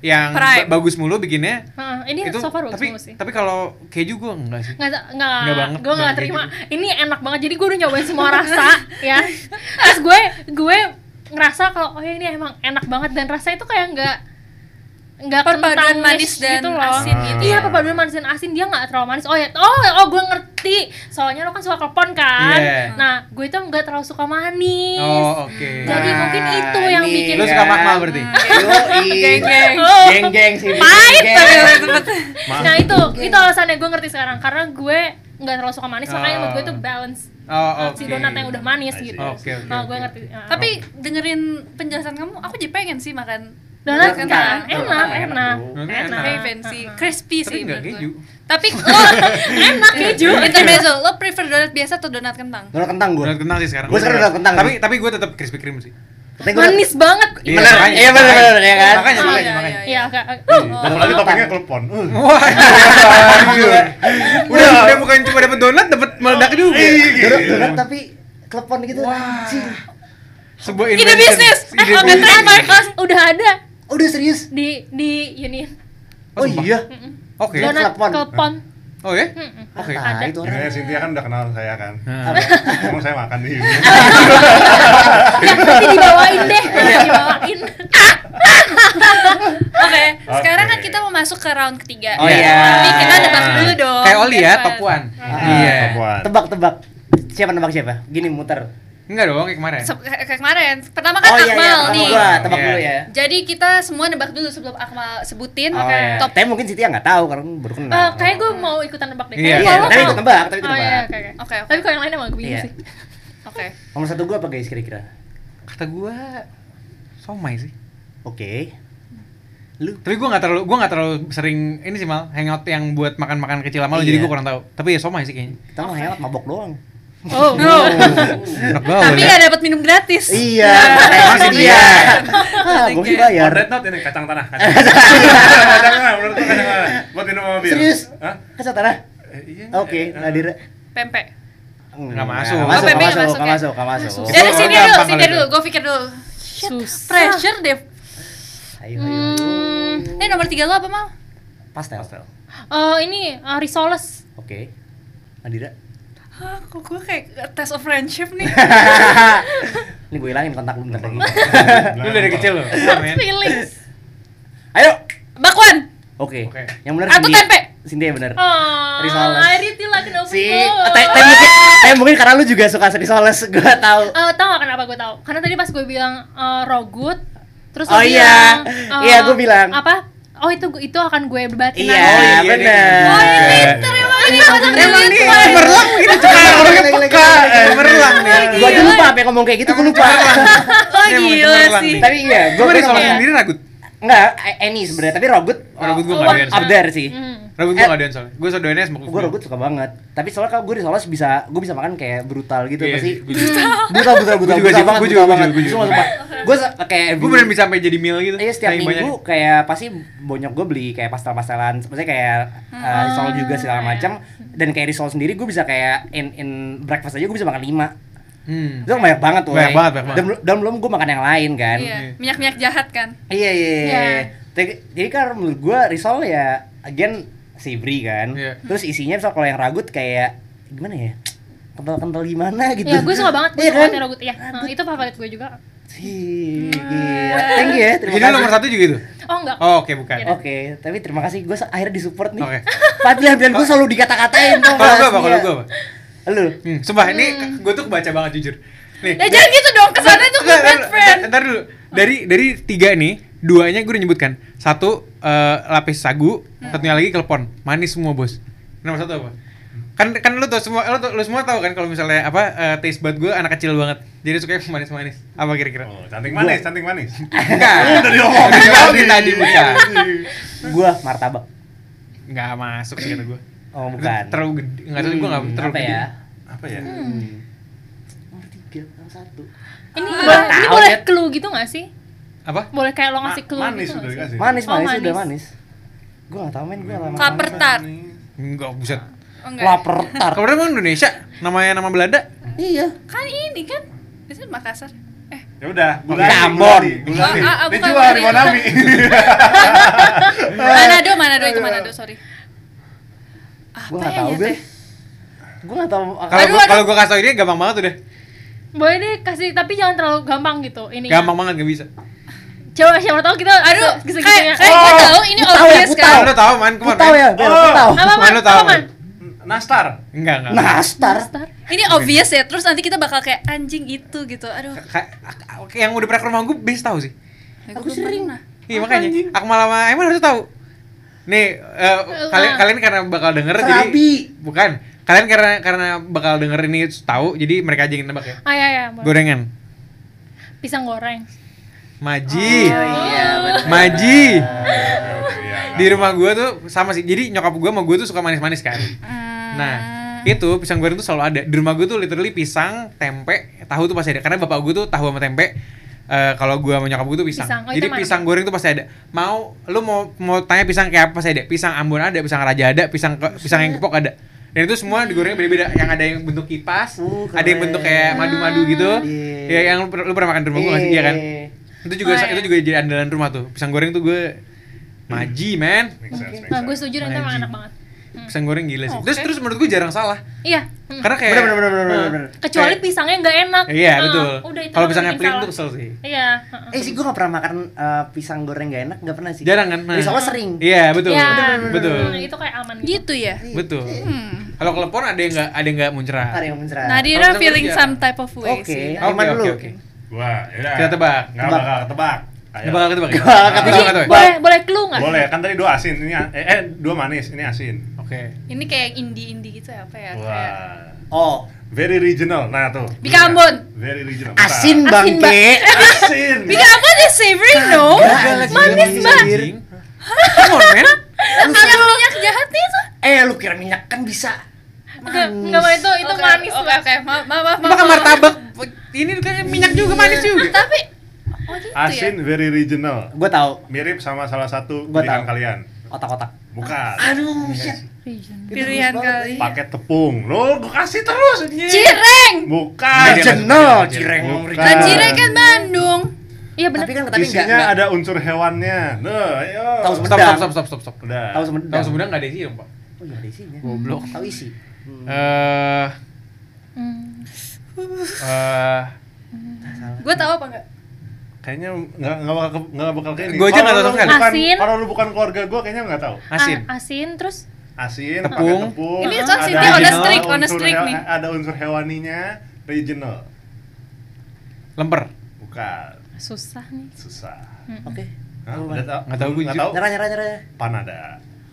[SPEAKER 3] yang
[SPEAKER 5] Prime.
[SPEAKER 3] ba- bagus mulu bikinnya
[SPEAKER 6] Heeh, ini
[SPEAKER 3] itu
[SPEAKER 6] so far bagus
[SPEAKER 3] tapi
[SPEAKER 6] semua sih.
[SPEAKER 3] tapi kalau keju gue enggak sih
[SPEAKER 6] nggak
[SPEAKER 3] Nggak
[SPEAKER 6] nggak
[SPEAKER 3] banget,
[SPEAKER 6] gue nggak
[SPEAKER 3] nggak gitu.
[SPEAKER 6] terima
[SPEAKER 3] kayak
[SPEAKER 6] ini enak banget jadi gue udah nyobain semua rasa ya terus gue gue ngerasa kalau oh ya ini emang enak banget dan rasanya itu kayak nggak nggak
[SPEAKER 5] Perpaduan
[SPEAKER 6] kentangish
[SPEAKER 5] manis dan asin
[SPEAKER 4] gitu
[SPEAKER 6] iya
[SPEAKER 4] ya.
[SPEAKER 6] perpaduan manis dan asin dia nggak terlalu manis oh ya oh oh gue ngerti soalnya lo kan suka klepon kan
[SPEAKER 3] Iya.
[SPEAKER 6] nah gue itu nggak terlalu suka manis
[SPEAKER 3] oh oke
[SPEAKER 6] Jadi mungkin itu yang
[SPEAKER 2] Nah, ini
[SPEAKER 6] bikin-
[SPEAKER 3] Lu suka magma
[SPEAKER 5] Hmm,
[SPEAKER 3] berarti?
[SPEAKER 5] Geng-geng.
[SPEAKER 6] Oh.
[SPEAKER 2] Geng-geng sih.
[SPEAKER 6] Pahit
[SPEAKER 2] geng-geng.
[SPEAKER 4] Maaf.
[SPEAKER 6] nah itu itu alasannya gue ngerti sekarang karena gue nggak terlalu suka manis makanya menurut gue itu balance
[SPEAKER 3] oh oke
[SPEAKER 6] si donat yang udah manis gitu.
[SPEAKER 3] Oke, oke,
[SPEAKER 6] Nah, gue
[SPEAKER 3] oke.
[SPEAKER 6] ngerti. Nah,
[SPEAKER 5] Tapi dengerin penjelasan kamu, aku jadi pengen sih makan
[SPEAKER 6] donat
[SPEAKER 5] kentang.
[SPEAKER 6] kentang enak,
[SPEAKER 2] Enak,
[SPEAKER 6] enak.
[SPEAKER 2] enak.
[SPEAKER 3] Enak.
[SPEAKER 5] Very fancy,
[SPEAKER 6] Enak.
[SPEAKER 5] crispy
[SPEAKER 3] Tapi
[SPEAKER 5] sih
[SPEAKER 3] nggak
[SPEAKER 5] menurut
[SPEAKER 3] keju.
[SPEAKER 5] gue. Tapi oh, lo enak
[SPEAKER 6] ya,
[SPEAKER 5] keju. Intermezzo, lo prefer donat biasa atau donat kentang?
[SPEAKER 2] Donat kentang gua.
[SPEAKER 3] donat kentang sih sekarang
[SPEAKER 2] Gua sekarang donat kentang.
[SPEAKER 3] tapi tapi gue tetap crispy cream sih
[SPEAKER 2] Tapi gua-
[SPEAKER 6] Manis banget.
[SPEAKER 3] Iya,
[SPEAKER 2] Bener,
[SPEAKER 3] makanya.
[SPEAKER 2] iya bener bener ya kan?
[SPEAKER 3] makanya
[SPEAKER 5] Oh,
[SPEAKER 3] makanya
[SPEAKER 5] iya,
[SPEAKER 3] makanya
[SPEAKER 5] iya.
[SPEAKER 6] Iya, agak agak-
[SPEAKER 4] Dan apalagi toppingnya klepon Uh.
[SPEAKER 3] Wah, gila. udah Iya, udah bukan cuma dapat donat, dapat meledak juga.
[SPEAKER 2] Donat donat tapi klepon gitu. Anjing.
[SPEAKER 3] Sebuah
[SPEAKER 5] Ide
[SPEAKER 3] invention.
[SPEAKER 5] bisnis.
[SPEAKER 6] Eh,
[SPEAKER 3] Ide
[SPEAKER 6] Oke,
[SPEAKER 3] bisnis.
[SPEAKER 6] ternyata kelas udah ada
[SPEAKER 2] Oh, Udah serius?
[SPEAKER 6] di di Union.
[SPEAKER 2] Oh,
[SPEAKER 3] Oh, sumpah.
[SPEAKER 2] iya.
[SPEAKER 3] Oke.
[SPEAKER 2] Donat
[SPEAKER 6] Donat
[SPEAKER 2] klepon.
[SPEAKER 6] klepon.
[SPEAKER 3] Oh ya?
[SPEAKER 6] Mm-mm.
[SPEAKER 3] Oke.
[SPEAKER 2] Ah,
[SPEAKER 6] Ada.
[SPEAKER 2] itu orang.
[SPEAKER 3] Iya,
[SPEAKER 4] Kayaknya Cynthia kan udah kenal saya kan
[SPEAKER 3] Nah.
[SPEAKER 4] Emang saya makan nih
[SPEAKER 6] Ya, nanti dibawain deh,
[SPEAKER 2] Iya.
[SPEAKER 6] nanti dibawain.
[SPEAKER 5] Oke, sekarang kan
[SPEAKER 4] Oke.
[SPEAKER 5] kita mau masuk ke round ketiga.
[SPEAKER 2] Oh,
[SPEAKER 5] Ya,
[SPEAKER 2] iya.
[SPEAKER 5] Tapi kita nebak dulu dong.
[SPEAKER 3] Kayak Oli ya,
[SPEAKER 5] Evan.
[SPEAKER 3] top one.
[SPEAKER 2] Ah,
[SPEAKER 3] Iya.
[SPEAKER 4] Topuan.
[SPEAKER 2] Tebak-tebak. Siapa nebak siapa? Gini muter.
[SPEAKER 3] Enggak dong, kayak kemarin.
[SPEAKER 5] Se- kayak kayak kemarin. Pertama
[SPEAKER 2] oh iya
[SPEAKER 5] kan
[SPEAKER 2] iya,
[SPEAKER 5] Akmal
[SPEAKER 2] tebak
[SPEAKER 5] nih.
[SPEAKER 2] gua, tebak
[SPEAKER 3] Iya.
[SPEAKER 2] dulu ya.
[SPEAKER 5] Jadi kita semua nebak dulu sebelum Akmal sebutin.
[SPEAKER 2] Oh, iya.
[SPEAKER 5] Top
[SPEAKER 2] Tapi mungkin Siti nggak tahu karena baru kenal.
[SPEAKER 6] Eh, kayak gue mau ikutan nebak deh.
[SPEAKER 3] Iya,
[SPEAKER 6] Kayak
[SPEAKER 2] Nah. Iya,
[SPEAKER 6] kalau
[SPEAKER 2] tapi
[SPEAKER 6] mau-
[SPEAKER 2] ikut nebak, tapi ikut
[SPEAKER 6] Oh iya,
[SPEAKER 2] nebak.
[SPEAKER 6] oke oke.
[SPEAKER 5] Oke, oke.
[SPEAKER 6] Tapi kalau yang lain emang gue bingung
[SPEAKER 2] Iya.
[SPEAKER 6] sih.
[SPEAKER 5] Oke.
[SPEAKER 2] Nomor satu gua apa guys kira-kira?
[SPEAKER 3] Kata gua somai sih.
[SPEAKER 2] Oke.
[SPEAKER 3] Tapi gua nggak terlalu gua nggak terlalu sering ini sih mal hangout yang buat makan-makan kecil sama lu jadi
[SPEAKER 2] Iya.
[SPEAKER 3] gua kurang tahu. Tapi ya somai sih kayaknya.
[SPEAKER 2] Kita mah hangout mabok doang.
[SPEAKER 6] Oh,
[SPEAKER 3] Enak banget.
[SPEAKER 5] Tapi
[SPEAKER 3] ya.
[SPEAKER 5] nggak dapat minum gratis.
[SPEAKER 2] Oh, Iya,
[SPEAKER 5] Nah,
[SPEAKER 2] makanya
[SPEAKER 5] itu
[SPEAKER 2] dia.
[SPEAKER 5] Oke.
[SPEAKER 2] Ah, gue sih
[SPEAKER 4] On
[SPEAKER 2] bayar.
[SPEAKER 4] that note ini kacang tanah. Kacang tanah, kacang tanah, menurut gua kacang tanah. Buat minum sama bir.
[SPEAKER 2] Serius?
[SPEAKER 4] Hah?
[SPEAKER 2] Kesatara?
[SPEAKER 4] Eh, iya.
[SPEAKER 2] Oke, Nadira.
[SPEAKER 5] Pempek.
[SPEAKER 2] Nggak
[SPEAKER 3] masuk.
[SPEAKER 2] Nggak
[SPEAKER 3] Oh,
[SPEAKER 2] masuk,
[SPEAKER 5] PP
[SPEAKER 2] nggak
[SPEAKER 5] nggak
[SPEAKER 2] masuk, nggak
[SPEAKER 5] masuk ya?
[SPEAKER 2] masuk, nggak masuk.
[SPEAKER 5] Susah.
[SPEAKER 3] Itu
[SPEAKER 5] Dari sini
[SPEAKER 3] gampang
[SPEAKER 5] dulu,
[SPEAKER 3] kalau
[SPEAKER 5] sini
[SPEAKER 3] itu.
[SPEAKER 5] dulu. Gue pikir dulu.
[SPEAKER 6] susah.
[SPEAKER 5] Pressure deh.
[SPEAKER 2] Ayo, ayo. Oh.
[SPEAKER 5] Hmm, ini nomor tiga lo apa mal?
[SPEAKER 2] Pastel.
[SPEAKER 6] Eh, ini eh, risoles.
[SPEAKER 2] Oke. Nadira.
[SPEAKER 5] Hah, kok gue kayak test of friendship nih.
[SPEAKER 2] Ini gue hilangin kontak lu bentar lagi.
[SPEAKER 4] eh,
[SPEAKER 3] Lu dari kecil loh. men.
[SPEAKER 6] Feelings.
[SPEAKER 2] Ayo.
[SPEAKER 5] Bakwan.
[SPEAKER 2] Oke.
[SPEAKER 3] Oke.
[SPEAKER 2] Yang benar
[SPEAKER 5] Atau
[SPEAKER 2] Cindy.
[SPEAKER 5] tempe.
[SPEAKER 2] Cindy yang benar.
[SPEAKER 6] Oh,
[SPEAKER 2] Risoles.
[SPEAKER 6] I really like no
[SPEAKER 2] Si, eh,
[SPEAKER 6] food.
[SPEAKER 2] tapi mungkin, tapi mungkin karena lu juga suka risoles, gue tahu.
[SPEAKER 6] Eh, tau gak kenapa gue tau? Karena tadi pas gue bilang eh, rogut Terus lo
[SPEAKER 2] Oh iya.
[SPEAKER 6] bilang, eh,
[SPEAKER 2] Iya, gue bilang.
[SPEAKER 6] Apa? Oh itu itu akan gue berbatin
[SPEAKER 2] Iya,
[SPEAKER 3] Oh, iya, dia
[SPEAKER 2] benar.
[SPEAKER 3] ngerti. Oh, ini
[SPEAKER 4] Eh,
[SPEAKER 5] Terima
[SPEAKER 6] Iya,
[SPEAKER 5] kasih. Terima
[SPEAKER 3] Ini
[SPEAKER 5] kasih.
[SPEAKER 3] cemerlang
[SPEAKER 5] Oh,
[SPEAKER 3] ini cemerlang orangnya
[SPEAKER 2] Lagi, lagi,
[SPEAKER 3] peka.
[SPEAKER 2] lagi, lagi, lagi.
[SPEAKER 3] Cemerlang dia.
[SPEAKER 2] Gue aja lupa apa yang ngomong kayak gitu, gue lupa.
[SPEAKER 5] Oh
[SPEAKER 3] Emang
[SPEAKER 5] gila
[SPEAKER 3] cemerlang
[SPEAKER 5] sih.
[SPEAKER 3] nih.
[SPEAKER 2] tapi iya, gue
[SPEAKER 3] Gue dari
[SPEAKER 2] pernah
[SPEAKER 3] soal
[SPEAKER 2] ngomong-
[SPEAKER 3] sendiri ragut.
[SPEAKER 2] Enggak, any sebenarnya, tapi rogut
[SPEAKER 3] Oh, rogut gue
[SPEAKER 2] uh,
[SPEAKER 3] nggak doyan
[SPEAKER 2] up
[SPEAKER 3] soalnya.
[SPEAKER 2] there sih.
[SPEAKER 6] Hmm.
[SPEAKER 3] Ragut gue
[SPEAKER 2] Eh.
[SPEAKER 3] nggak doyan soalnya. Gue sodoyannya smoke.
[SPEAKER 2] Gue rogut suka banget. Tapi soalnya kalau gue risoles bisa gue bisa makan kayak brutal gitu
[SPEAKER 3] Iya,
[SPEAKER 2] pasti.
[SPEAKER 3] gue juga.
[SPEAKER 2] Brutal brutal brutal.
[SPEAKER 3] Gue juga sih,
[SPEAKER 2] brutal banget,
[SPEAKER 3] gue
[SPEAKER 2] brutal
[SPEAKER 3] juga, gue
[SPEAKER 2] banget.
[SPEAKER 3] juga, gue
[SPEAKER 2] Sumpah,
[SPEAKER 3] juga.
[SPEAKER 2] sumpah. Gue se- kayak
[SPEAKER 3] Gue beneran bisa sampai jadi meal gitu.
[SPEAKER 2] Iya setiap
[SPEAKER 3] Saking
[SPEAKER 2] minggu
[SPEAKER 3] banyaknya.
[SPEAKER 2] kayak pasti bonyok gue beli kayak pastel-pastelan, maksudnya kayak
[SPEAKER 6] Hmm.
[SPEAKER 2] uh, risol juga segala macam dan kayak risol sendiri gue bisa kayak in in breakfast aja gue bisa makan lima.
[SPEAKER 3] Hmm.
[SPEAKER 2] Itu banyak banget tuh.
[SPEAKER 3] Banyak
[SPEAKER 2] Ray.
[SPEAKER 3] banget, banyak
[SPEAKER 2] Dan, dan belum gue makan yang lain kan.
[SPEAKER 5] Iya, minyak-minyak jahat kan.
[SPEAKER 2] Iya iya. iya.
[SPEAKER 6] Iya.
[SPEAKER 2] Jadi, jadi kan menurut gue risol ya again savory kan.
[SPEAKER 3] Iya.
[SPEAKER 2] Terus isinya misal kalau yang ragut kayak gimana ya? Kental-kental gimana gitu.
[SPEAKER 6] Ya gue suka banget, gue
[SPEAKER 2] Iya
[SPEAKER 6] suka
[SPEAKER 2] kan?
[SPEAKER 6] banget Hmm. rogut ya. Nah, itu favorit gue juga.
[SPEAKER 2] Sih, gila. Thank you ya. Terima
[SPEAKER 3] Jadi lu
[SPEAKER 2] kasih.
[SPEAKER 3] nomor satu juga itu?
[SPEAKER 6] Oh enggak.
[SPEAKER 3] Oh, oke bukan.
[SPEAKER 6] Iya.
[SPEAKER 2] Oke, tapi terima kasih gue akhirnya disupport nih.
[SPEAKER 3] Oke.
[SPEAKER 2] Pilihan-pilihan gue selalu dikata-katain dong.
[SPEAKER 3] Kalau gue apa? Kalau gue apa?
[SPEAKER 2] Iya. Lu.
[SPEAKER 3] Hmm, sumpah ini gue tuh kebaca banget jujur. Nih.
[SPEAKER 5] Ya jangan gitu dong, kesannya tuh gue
[SPEAKER 3] Nggak,
[SPEAKER 5] bad
[SPEAKER 3] ntar-
[SPEAKER 5] friend.
[SPEAKER 3] ntar- Ntar dulu. Dari dari tiga nih, duanya gue udah nyebutkan. Satu eh, lapis sagu,
[SPEAKER 5] Hmm.
[SPEAKER 3] satunya lagi klepon. Manis semua, Bos. Nomor satu apa? Kan kan lu tau semua lu, tau- lu semua tahu kan kalau misalnya apa eh, taste bud gue anak kecil banget. Jadi suka yang manis-manis. Apa kira-kira?
[SPEAKER 4] Oh, cantik manis, cantik manis.
[SPEAKER 3] Enggak.
[SPEAKER 4] Udah diomongin
[SPEAKER 3] Diomongin tadi, bukan.
[SPEAKER 2] Gue martabak.
[SPEAKER 3] Enggak masuk sih kata gue.
[SPEAKER 2] Oh, bukan.
[SPEAKER 3] Terlalu gede. Enggak tahu gue enggak
[SPEAKER 2] Hmm,
[SPEAKER 3] terlalu
[SPEAKER 2] apa
[SPEAKER 3] gede.
[SPEAKER 2] ya?
[SPEAKER 4] Apa ya?
[SPEAKER 6] Hmm.
[SPEAKER 2] Nomor tiga, nomor satu.
[SPEAKER 6] Ini,
[SPEAKER 2] Gua
[SPEAKER 6] ini
[SPEAKER 2] tahu,
[SPEAKER 6] boleh
[SPEAKER 2] Jet.
[SPEAKER 6] clue gitu gak sih?
[SPEAKER 3] Apa?
[SPEAKER 6] Boleh kayak lo ngasih
[SPEAKER 4] Ma-
[SPEAKER 6] clue
[SPEAKER 4] manis kan.
[SPEAKER 6] gitu
[SPEAKER 4] udah
[SPEAKER 6] nggak sih?
[SPEAKER 3] Iya.
[SPEAKER 4] dikasih.
[SPEAKER 2] Manis, manis,
[SPEAKER 6] Oh, manis.
[SPEAKER 2] udah manis. Gue gak tau men, gue lama.
[SPEAKER 5] Kaper tart.
[SPEAKER 3] Enggak, buset.
[SPEAKER 2] Nah.
[SPEAKER 5] Oh, enggak.
[SPEAKER 2] Laper tar.
[SPEAKER 3] Kabar emang Indonesia, namanya nama Belanda.
[SPEAKER 2] Iya.
[SPEAKER 5] Kan ini kan. Itu Makassar. Eh,
[SPEAKER 4] Ya udah,
[SPEAKER 2] Bukan. Ambon.
[SPEAKER 4] Gulani.
[SPEAKER 5] Ah, ah, bukan,
[SPEAKER 4] Dijual di
[SPEAKER 5] bukan.
[SPEAKER 4] Wanami.
[SPEAKER 5] Manado, Manado itu Manado, sorry.
[SPEAKER 2] Gue
[SPEAKER 5] Apa
[SPEAKER 2] gak
[SPEAKER 5] ya
[SPEAKER 2] tau gue.
[SPEAKER 5] nyatanya?
[SPEAKER 2] Gue gak tau.
[SPEAKER 3] Kalau
[SPEAKER 5] Aduh,
[SPEAKER 3] gua-
[SPEAKER 5] aduh.
[SPEAKER 3] kalau gua kasih tau ini gampang banget udah.
[SPEAKER 6] Boleh deh kasih, tapi jangan terlalu gampang gitu ini.
[SPEAKER 3] Gampang banget gak bisa.
[SPEAKER 6] Coba siapa tahu kita
[SPEAKER 5] Aduh,
[SPEAKER 6] se- segitunya. Oh,
[SPEAKER 5] kayak kayak gue tahu ini
[SPEAKER 2] Gua tahu ya,
[SPEAKER 5] obvious
[SPEAKER 2] gua
[SPEAKER 5] kan.
[SPEAKER 2] tahu.
[SPEAKER 3] Lu tahu man,
[SPEAKER 2] Gue
[SPEAKER 3] kemana?
[SPEAKER 2] tau ya, Bel,
[SPEAKER 3] Oh.
[SPEAKER 2] gue tau.
[SPEAKER 6] Apa man?
[SPEAKER 3] Mana tahu,
[SPEAKER 6] Apa man?
[SPEAKER 3] Man?
[SPEAKER 4] Nastar.
[SPEAKER 3] Enggak, enggak.
[SPEAKER 2] Nah, star.
[SPEAKER 6] Star.
[SPEAKER 5] Ini obvious ya, terus nanti kita bakal kayak anjing itu gitu. Aduh.
[SPEAKER 3] Ka- Oke, yang udah pernah ke rumah gua bisa tahu sih.
[SPEAKER 5] Aku sering.
[SPEAKER 3] Iya, makanya. Aku malah sama Emang harus tahu. Nih, eh, kalian kalian karena bakal denger jadi
[SPEAKER 2] Serabi.
[SPEAKER 3] bukan. Kalian karena karena bakal denger ini tahu, jadi mereka aja yang nebak ya.
[SPEAKER 6] Ah ya ya, boleh.
[SPEAKER 3] Gorengan.
[SPEAKER 6] Pisang goreng.
[SPEAKER 3] Maji.
[SPEAKER 2] Iya, betul.
[SPEAKER 3] Maji.
[SPEAKER 4] Iya,
[SPEAKER 6] kan.
[SPEAKER 3] Di rumah gua tuh sama sih. Jadi nyokap gua sama gua tuh suka manis-manis kan.
[SPEAKER 6] Ah.
[SPEAKER 3] Nah, itu pisang goreng tuh selalu ada. Di rumah gue tuh literally pisang, tempe, tahu tuh pasti ada. Karena bapak gue tuh tahu sama tempe. Eh, kalau gue sama nyokap gue tuh pisang.
[SPEAKER 6] Pisang. Oh, itu
[SPEAKER 3] Jadi
[SPEAKER 6] mana?
[SPEAKER 3] pisang goreng tuh pasti ada. Mau lu mau mau tanya pisang kayak apa pasti ada. Pisang Ambon ada, pisang Raja ada, pisang ke- pisang yang kepok ada. Dan itu semua digorengnya beda-beda. Yang ada yang bentuk kipas,
[SPEAKER 2] Uh,
[SPEAKER 3] ada
[SPEAKER 2] keren.
[SPEAKER 3] yang bentuk kayak madu-madu gitu.
[SPEAKER 2] Iya.
[SPEAKER 3] Ya yang lu, per- lu pernah makan di rumah gue sih? Iya kan?
[SPEAKER 2] Eh,
[SPEAKER 3] Itu juga
[SPEAKER 5] Oh, iya.
[SPEAKER 3] itu juga jadi andalan rumah tuh. Pisang goreng tuh gue maji, man.
[SPEAKER 4] Make sense, make
[SPEAKER 6] Nah, gue
[SPEAKER 4] sense.
[SPEAKER 6] setuju nanti emang
[SPEAKER 3] Maji.
[SPEAKER 6] enak banget.
[SPEAKER 3] Pisang goreng gila sih.
[SPEAKER 5] Oke.
[SPEAKER 3] Terus terus menurut gue jarang salah.
[SPEAKER 6] Iya. mm.
[SPEAKER 3] Karena kayak
[SPEAKER 2] Bener, bener, bener, bener, bener.
[SPEAKER 6] Kecuali
[SPEAKER 3] Kan kayak-
[SPEAKER 6] pisangnya nggak enak.
[SPEAKER 3] Iya
[SPEAKER 6] Heeh,
[SPEAKER 3] betul.
[SPEAKER 6] Udah itu
[SPEAKER 3] Kalau
[SPEAKER 6] kan
[SPEAKER 3] pisangnya
[SPEAKER 6] bikin
[SPEAKER 3] plain
[SPEAKER 6] salah.
[SPEAKER 3] tuh kesel sih.
[SPEAKER 6] Iya. heeh.
[SPEAKER 2] Eh sih gue gak pernah makan eh, pisang goreng gak enak, gak pernah sih.
[SPEAKER 3] Jarang kan? nah.
[SPEAKER 2] Risolnya sering.
[SPEAKER 3] Iya betul.
[SPEAKER 6] Iya.
[SPEAKER 3] Betul.
[SPEAKER 6] Hmm, itu kayak aman gitu.
[SPEAKER 5] Gitu ya.
[SPEAKER 2] Iya.
[SPEAKER 5] Hmm,
[SPEAKER 3] Betul. Kalau kelepon ada yang nggak ada yang nggak muncrat.
[SPEAKER 2] Ada yang mencerah.
[SPEAKER 5] Nadira
[SPEAKER 3] Kalau kita
[SPEAKER 5] feeling
[SPEAKER 3] kerja.
[SPEAKER 5] some type of way
[SPEAKER 2] Eh, Oke.
[SPEAKER 5] sih.
[SPEAKER 2] Iman dulu.
[SPEAKER 4] Gua, yaudah.
[SPEAKER 3] Kita tebak.
[SPEAKER 4] Nggak
[SPEAKER 2] Tebak.
[SPEAKER 4] bakal ketebak. Ayo.
[SPEAKER 3] Nggak bakal ketebak. ya?
[SPEAKER 2] Nggak bakal
[SPEAKER 3] Nggak
[SPEAKER 6] Jadi
[SPEAKER 3] bakal ketebak.
[SPEAKER 6] boleh boleh clue nggak?
[SPEAKER 4] Boleh, kan tadi dua asin, ini a- eh, eh dua manis, ini asin.
[SPEAKER 3] Oke.
[SPEAKER 5] Ini kayak indie-indie gitu ya, apa ya? Kayak
[SPEAKER 4] Wah.
[SPEAKER 2] Oh,
[SPEAKER 4] Very regional. Nah, tuh.
[SPEAKER 5] Bika Ambon.
[SPEAKER 4] Very regional. Bentar.
[SPEAKER 2] asin bangke.
[SPEAKER 4] Asin.
[SPEAKER 5] Bika Ambon is savory no.
[SPEAKER 2] Manis banget.
[SPEAKER 3] Anjing. Come on man.
[SPEAKER 5] Minyak minyak jahat ya, nih itu.
[SPEAKER 2] Eh, lu kira minyak kan bisa
[SPEAKER 6] Enggak, enggak itu itu
[SPEAKER 5] Oke,
[SPEAKER 6] manis
[SPEAKER 5] Oke,
[SPEAKER 6] banget.
[SPEAKER 5] oke, maaf, maaf, maaf.
[SPEAKER 3] Makan
[SPEAKER 5] maaf.
[SPEAKER 3] martabak ini kan minyak juga manis juga.
[SPEAKER 5] Tapi oh gitu ya.
[SPEAKER 4] Asin very regional.
[SPEAKER 2] Gue tahu
[SPEAKER 4] Mirip sama salah satu
[SPEAKER 2] Gua
[SPEAKER 4] pilihan
[SPEAKER 2] tahu.
[SPEAKER 4] kalian.
[SPEAKER 2] otak-otak. Iya
[SPEAKER 4] Bukan.
[SPEAKER 2] Aduh, iya. shit.
[SPEAKER 5] Pilihan kali.
[SPEAKER 4] Pakai tepung. Lo gua kasih terus. anjing.
[SPEAKER 5] Cireng.
[SPEAKER 4] Bukan.
[SPEAKER 2] Regional, cireng.
[SPEAKER 4] Ah, Bukan.
[SPEAKER 2] Ah.
[SPEAKER 5] Kan Cireng kan Bandung.
[SPEAKER 6] Iya benar.
[SPEAKER 2] Tapi kan tapi enggak.
[SPEAKER 4] Isinya ada unsur hewannya. Nah, ayo.
[SPEAKER 2] Tahu
[SPEAKER 3] Stop stop stop stop stop stop.
[SPEAKER 4] Udah.
[SPEAKER 2] Tahu semedang.
[SPEAKER 3] Tahu sebenarnya enggak ada sih, Pak.
[SPEAKER 2] Oh, iya ada isinya.
[SPEAKER 3] Goblok.
[SPEAKER 2] Tahu isi. Hmm.
[SPEAKER 3] Eh
[SPEAKER 6] Hmm.
[SPEAKER 3] eh
[SPEAKER 5] Gue tahu apa enggak?
[SPEAKER 4] Kayaknya nggak nggak bakal ke- nggak bakal kayak ini.
[SPEAKER 3] Gua aja
[SPEAKER 4] Kalau
[SPEAKER 3] nggak tahu
[SPEAKER 4] lu
[SPEAKER 3] sama sekali.
[SPEAKER 4] bukan-
[SPEAKER 6] Asin.
[SPEAKER 4] Kalau lu bukan keluarga gua kayaknya nggak tahu.
[SPEAKER 3] asin.
[SPEAKER 6] Ah, asin terus
[SPEAKER 4] Asin, pakai
[SPEAKER 3] Tepung.
[SPEAKER 4] tepung.
[SPEAKER 5] Ini
[SPEAKER 4] ada
[SPEAKER 5] soal Cynthia on the
[SPEAKER 3] original,
[SPEAKER 5] streak, on the
[SPEAKER 4] unsur
[SPEAKER 5] streak
[SPEAKER 4] hewa-
[SPEAKER 5] nih.
[SPEAKER 4] Ada unsur hewaninya, regional.
[SPEAKER 3] Lemper.
[SPEAKER 4] Bukan.
[SPEAKER 6] susah nih.
[SPEAKER 4] Susah.
[SPEAKER 2] Oke.
[SPEAKER 4] Hah?
[SPEAKER 2] Bukan.
[SPEAKER 4] Udah tau?
[SPEAKER 3] Nggak tahu gua
[SPEAKER 4] Nggak
[SPEAKER 3] jujur.
[SPEAKER 4] tahu?
[SPEAKER 2] Nyerah, nyerah, nyerah.
[SPEAKER 4] Panada.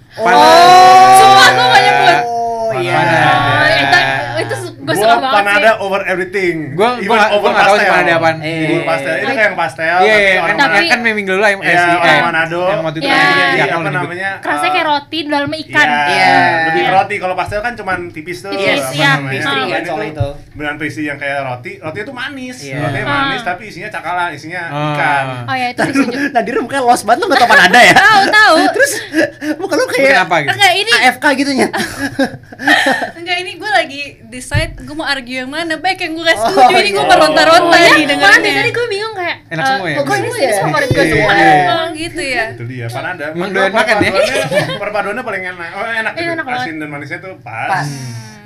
[SPEAKER 5] Sumpah gue gak nyebut.
[SPEAKER 2] Oh, iya.
[SPEAKER 3] Panada.
[SPEAKER 6] Oh, itu
[SPEAKER 3] iya.
[SPEAKER 6] itu gue suka
[SPEAKER 4] Gua
[SPEAKER 6] banget
[SPEAKER 4] Panada over everything.
[SPEAKER 3] Gua- gua
[SPEAKER 4] Even
[SPEAKER 3] nggak- gua
[SPEAKER 4] over
[SPEAKER 3] nggak tahu sih
[SPEAKER 4] pastel.
[SPEAKER 3] Panada apaan.
[SPEAKER 4] Eh. Bubur pastel. Itu
[SPEAKER 6] Eh.
[SPEAKER 4] kayak yang pastel.
[SPEAKER 3] Iya, iya,
[SPEAKER 4] Ya, orang
[SPEAKER 3] kan,
[SPEAKER 6] Tapi-
[SPEAKER 4] Manado.
[SPEAKER 3] kan miming dulu lah yang
[SPEAKER 4] Iya,
[SPEAKER 3] si-
[SPEAKER 4] orang
[SPEAKER 3] eh,
[SPEAKER 4] Manado.
[SPEAKER 3] Yang waktu itu
[SPEAKER 6] Iya.
[SPEAKER 3] kan
[SPEAKER 4] Jadi
[SPEAKER 3] yang
[SPEAKER 4] apa
[SPEAKER 3] nyebut.
[SPEAKER 4] namanya? Eh,
[SPEAKER 6] sih. Kerasnya kayak roti di dalamnya ikan.
[SPEAKER 4] Iya,
[SPEAKER 2] Iya.
[SPEAKER 4] lebih ke
[SPEAKER 6] Iya.
[SPEAKER 4] roti. Kalau pastel kan cuman tipis tuh.
[SPEAKER 2] Tipis,
[SPEAKER 4] apa
[SPEAKER 6] iya.
[SPEAKER 4] namanya.
[SPEAKER 6] Pastry
[SPEAKER 4] Kalau
[SPEAKER 2] kan
[SPEAKER 4] ini
[SPEAKER 2] soalnya
[SPEAKER 4] tuh
[SPEAKER 2] itu.
[SPEAKER 4] Beneran pastry yang kayak roti. Roti itu manis.
[SPEAKER 2] Iya.
[SPEAKER 4] Rotinya manis
[SPEAKER 6] Ah.
[SPEAKER 4] tapi isinya cakalang, isinya
[SPEAKER 3] Ah.
[SPEAKER 4] ikan.
[SPEAKER 6] Oh ya itu
[SPEAKER 2] Aduh,
[SPEAKER 6] setuju.
[SPEAKER 2] Nadir mukanya lost banget, lu gak tau Panada ya?
[SPEAKER 5] Tahu, tahu.
[SPEAKER 2] Terus, muka lu
[SPEAKER 3] Mungkin
[SPEAKER 2] kayak
[SPEAKER 3] apa gitu?
[SPEAKER 5] Enggak ini,
[SPEAKER 2] AFK gitu nya
[SPEAKER 5] enggak ini gue lagi decide gue mau argue yang mana baik yang gue gak setuju
[SPEAKER 2] Oh,
[SPEAKER 5] ini gue
[SPEAKER 2] iya.
[SPEAKER 5] meronta-ronta
[SPEAKER 6] Makanya ya. malah
[SPEAKER 5] nih
[SPEAKER 6] dari tadi
[SPEAKER 5] dengarnya.
[SPEAKER 6] gue bingung kayak
[SPEAKER 3] Enak
[SPEAKER 6] eh,
[SPEAKER 3] semua ya?
[SPEAKER 6] kok Gue ini
[SPEAKER 2] Iya.
[SPEAKER 6] ini sama favorit gue
[SPEAKER 2] Iya.
[SPEAKER 6] semua.
[SPEAKER 5] Oh gitu ya.
[SPEAKER 4] Itu dia, panada.
[SPEAKER 3] Emang doyan makan ya?
[SPEAKER 4] Perpaduannya- Perpaduannya paling enak. Oh, enak.
[SPEAKER 6] Iya,
[SPEAKER 4] gitu.
[SPEAKER 6] enak banget. Iya.
[SPEAKER 4] Asin dan manisnya tuh
[SPEAKER 2] Pas.
[SPEAKER 4] pas. Hmm.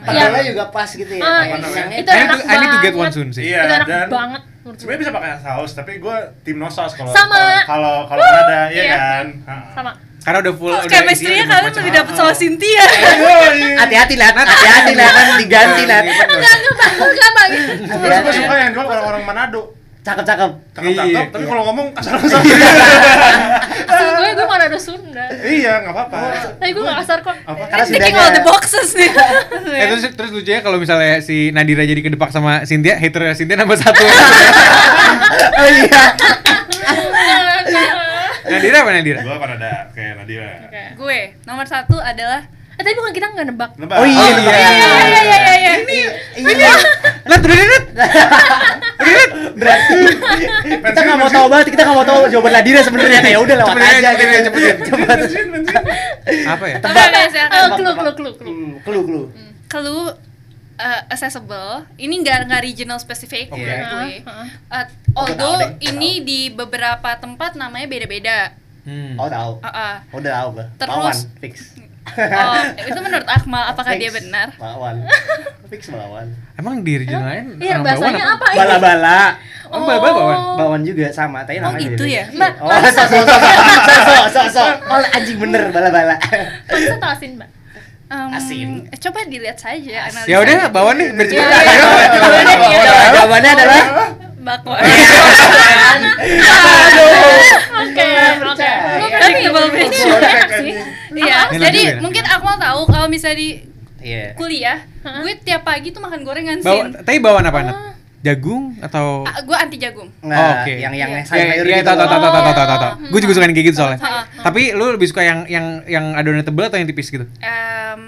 [SPEAKER 4] Iya.
[SPEAKER 2] Padahal juga pas gitu ya.
[SPEAKER 6] Ah,
[SPEAKER 4] Apa namanya?
[SPEAKER 6] itu
[SPEAKER 3] I
[SPEAKER 6] enak
[SPEAKER 3] need to- I need to get one
[SPEAKER 6] banget.
[SPEAKER 3] soon sih.
[SPEAKER 4] Iya,
[SPEAKER 6] Itu enak
[SPEAKER 4] dan
[SPEAKER 6] banget. menurut gue.
[SPEAKER 4] sebenarnya bisa pakai saus tapi gue tim no sauce kalau
[SPEAKER 6] Sama.
[SPEAKER 4] kalau- kalau kalau ada ya
[SPEAKER 6] Iya.
[SPEAKER 4] kan Ha-ha.
[SPEAKER 6] Sama.
[SPEAKER 3] Karena udah full udah
[SPEAKER 5] Kok
[SPEAKER 6] ya,
[SPEAKER 3] isinya
[SPEAKER 5] chemistry-nya
[SPEAKER 3] udah
[SPEAKER 5] kalian lebih
[SPEAKER 3] macam-macam.
[SPEAKER 5] dapet soal Cynthia?
[SPEAKER 4] iya.
[SPEAKER 2] Hati-hati lah, hati-hati lah, kan
[SPEAKER 3] Iya,
[SPEAKER 2] diganti lah.
[SPEAKER 5] Enggak, Bang.
[SPEAKER 4] terus
[SPEAKER 2] Iya.
[SPEAKER 4] gue suka yang jual
[SPEAKER 6] Iya.
[SPEAKER 4] orang orang Manado
[SPEAKER 2] Cakep-cakep.
[SPEAKER 4] cakep-cakep
[SPEAKER 3] Iya.
[SPEAKER 4] tapi kalau ngomong kasar-kasar
[SPEAKER 2] Iya.
[SPEAKER 6] Asal gue gue mana ada Sunda.
[SPEAKER 4] iya nggak apa-apa
[SPEAKER 6] Tapi gue gak kasar kok.
[SPEAKER 4] apa
[SPEAKER 2] Karena
[SPEAKER 5] Ticking
[SPEAKER 2] sudahnya-
[SPEAKER 5] all the boxes nih.
[SPEAKER 3] Eh terus terus lucunya kalau misalnya si Nadira jadi kedepak sama Cynthia, hater Cynthia nambah satu.
[SPEAKER 2] Oh iya.
[SPEAKER 3] Nadira apa Nadira?
[SPEAKER 4] gue Panada kayak Nadira
[SPEAKER 6] Oke.
[SPEAKER 5] Gue nomor satu adalah
[SPEAKER 6] Eh tadi bukan kita nggak nebak.
[SPEAKER 4] Nebak.
[SPEAKER 2] Oh, iya, nebak.
[SPEAKER 5] iya iya iya iya, iya.
[SPEAKER 2] Iya.
[SPEAKER 3] Lah tuh Nadira.
[SPEAKER 2] Berarti kita nggak mau tahu banget, kita nggak mau tahu jawaban Nadira sebenarnya. Ya udah lewat
[SPEAKER 3] Cepetin aja,
[SPEAKER 2] aja.
[SPEAKER 3] cepetin aja, cepetin.
[SPEAKER 2] Coba
[SPEAKER 3] Apa ya?
[SPEAKER 5] Oke, oke, silakan.
[SPEAKER 6] Eh, Clue clue clue clue.
[SPEAKER 2] Kelu kelu.
[SPEAKER 5] Hmm. Clue uh, accessible. Ini nggak nggak regional specific
[SPEAKER 3] Oke.
[SPEAKER 5] menurut gue.
[SPEAKER 6] Heeh,
[SPEAKER 5] Uh,
[SPEAKER 2] Oh,
[SPEAKER 5] although
[SPEAKER 2] tahu deh,
[SPEAKER 5] ini di beberapa tempat namanya beda-beda.
[SPEAKER 3] Hmm.
[SPEAKER 2] Oh tahu.
[SPEAKER 5] Uh, uh.
[SPEAKER 2] Udah tahu gua.
[SPEAKER 5] Terus.
[SPEAKER 2] Pawan fix.
[SPEAKER 5] Oh, itu menurut Akmal apakah dia
[SPEAKER 2] Fix.
[SPEAKER 5] benar?
[SPEAKER 2] Pawan. Fix pawan.
[SPEAKER 3] Emang di region lain
[SPEAKER 6] Iya
[SPEAKER 3] orang
[SPEAKER 6] bahasanya
[SPEAKER 3] Bawan
[SPEAKER 6] apa ini?
[SPEAKER 2] Bala-bala.
[SPEAKER 3] Oh, bala bawan.
[SPEAKER 2] Bawan juga sama, tapi
[SPEAKER 5] Oh,
[SPEAKER 2] namanya
[SPEAKER 5] gitu ya?
[SPEAKER 2] beda. Oh, so so so so so so so. Malah anjing bener bala-bala.
[SPEAKER 6] Pantes atau asin mbak?
[SPEAKER 5] Um,
[SPEAKER 2] Asin.
[SPEAKER 5] eh, Coba dilihat saja analisanya.
[SPEAKER 3] Ya udah, Bawan nih bercerita.
[SPEAKER 6] Iya, iya, iya. Jawabannya dia.
[SPEAKER 2] Jawabannya adalah
[SPEAKER 5] Bakwa.
[SPEAKER 3] Iya.
[SPEAKER 6] Oke oke. Gue berarti
[SPEAKER 5] Predictable
[SPEAKER 6] ini
[SPEAKER 5] bitch.
[SPEAKER 6] enak sih.
[SPEAKER 5] Iya,
[SPEAKER 3] Ini
[SPEAKER 5] jadi
[SPEAKER 3] lanjut ya?
[SPEAKER 5] mungkin Akmal tahu kalau misalnya di
[SPEAKER 2] Iya.
[SPEAKER 5] kuliah, gue tiap pagi tuh makan gorengan
[SPEAKER 3] Bawa,
[SPEAKER 5] sin.
[SPEAKER 3] tapi bawan apa? Nat? Jagung atau
[SPEAKER 5] Ah, gue anti jagung.
[SPEAKER 2] Nah,
[SPEAKER 3] Oke.
[SPEAKER 2] yang yang
[SPEAKER 5] Iya.
[SPEAKER 2] sayur sayur
[SPEAKER 3] Iya, iya,
[SPEAKER 2] gitu.
[SPEAKER 3] tau, tau, tau,
[SPEAKER 2] loh.
[SPEAKER 3] tau, tau, tau, tau,
[SPEAKER 5] Oh.
[SPEAKER 3] tau. Gue juga suka yang kayak gitu soalnya.
[SPEAKER 5] Heeh.
[SPEAKER 3] Tapi lu lebih suka yang yang yang adonannya tebel atau yang tipis gitu?
[SPEAKER 5] Em,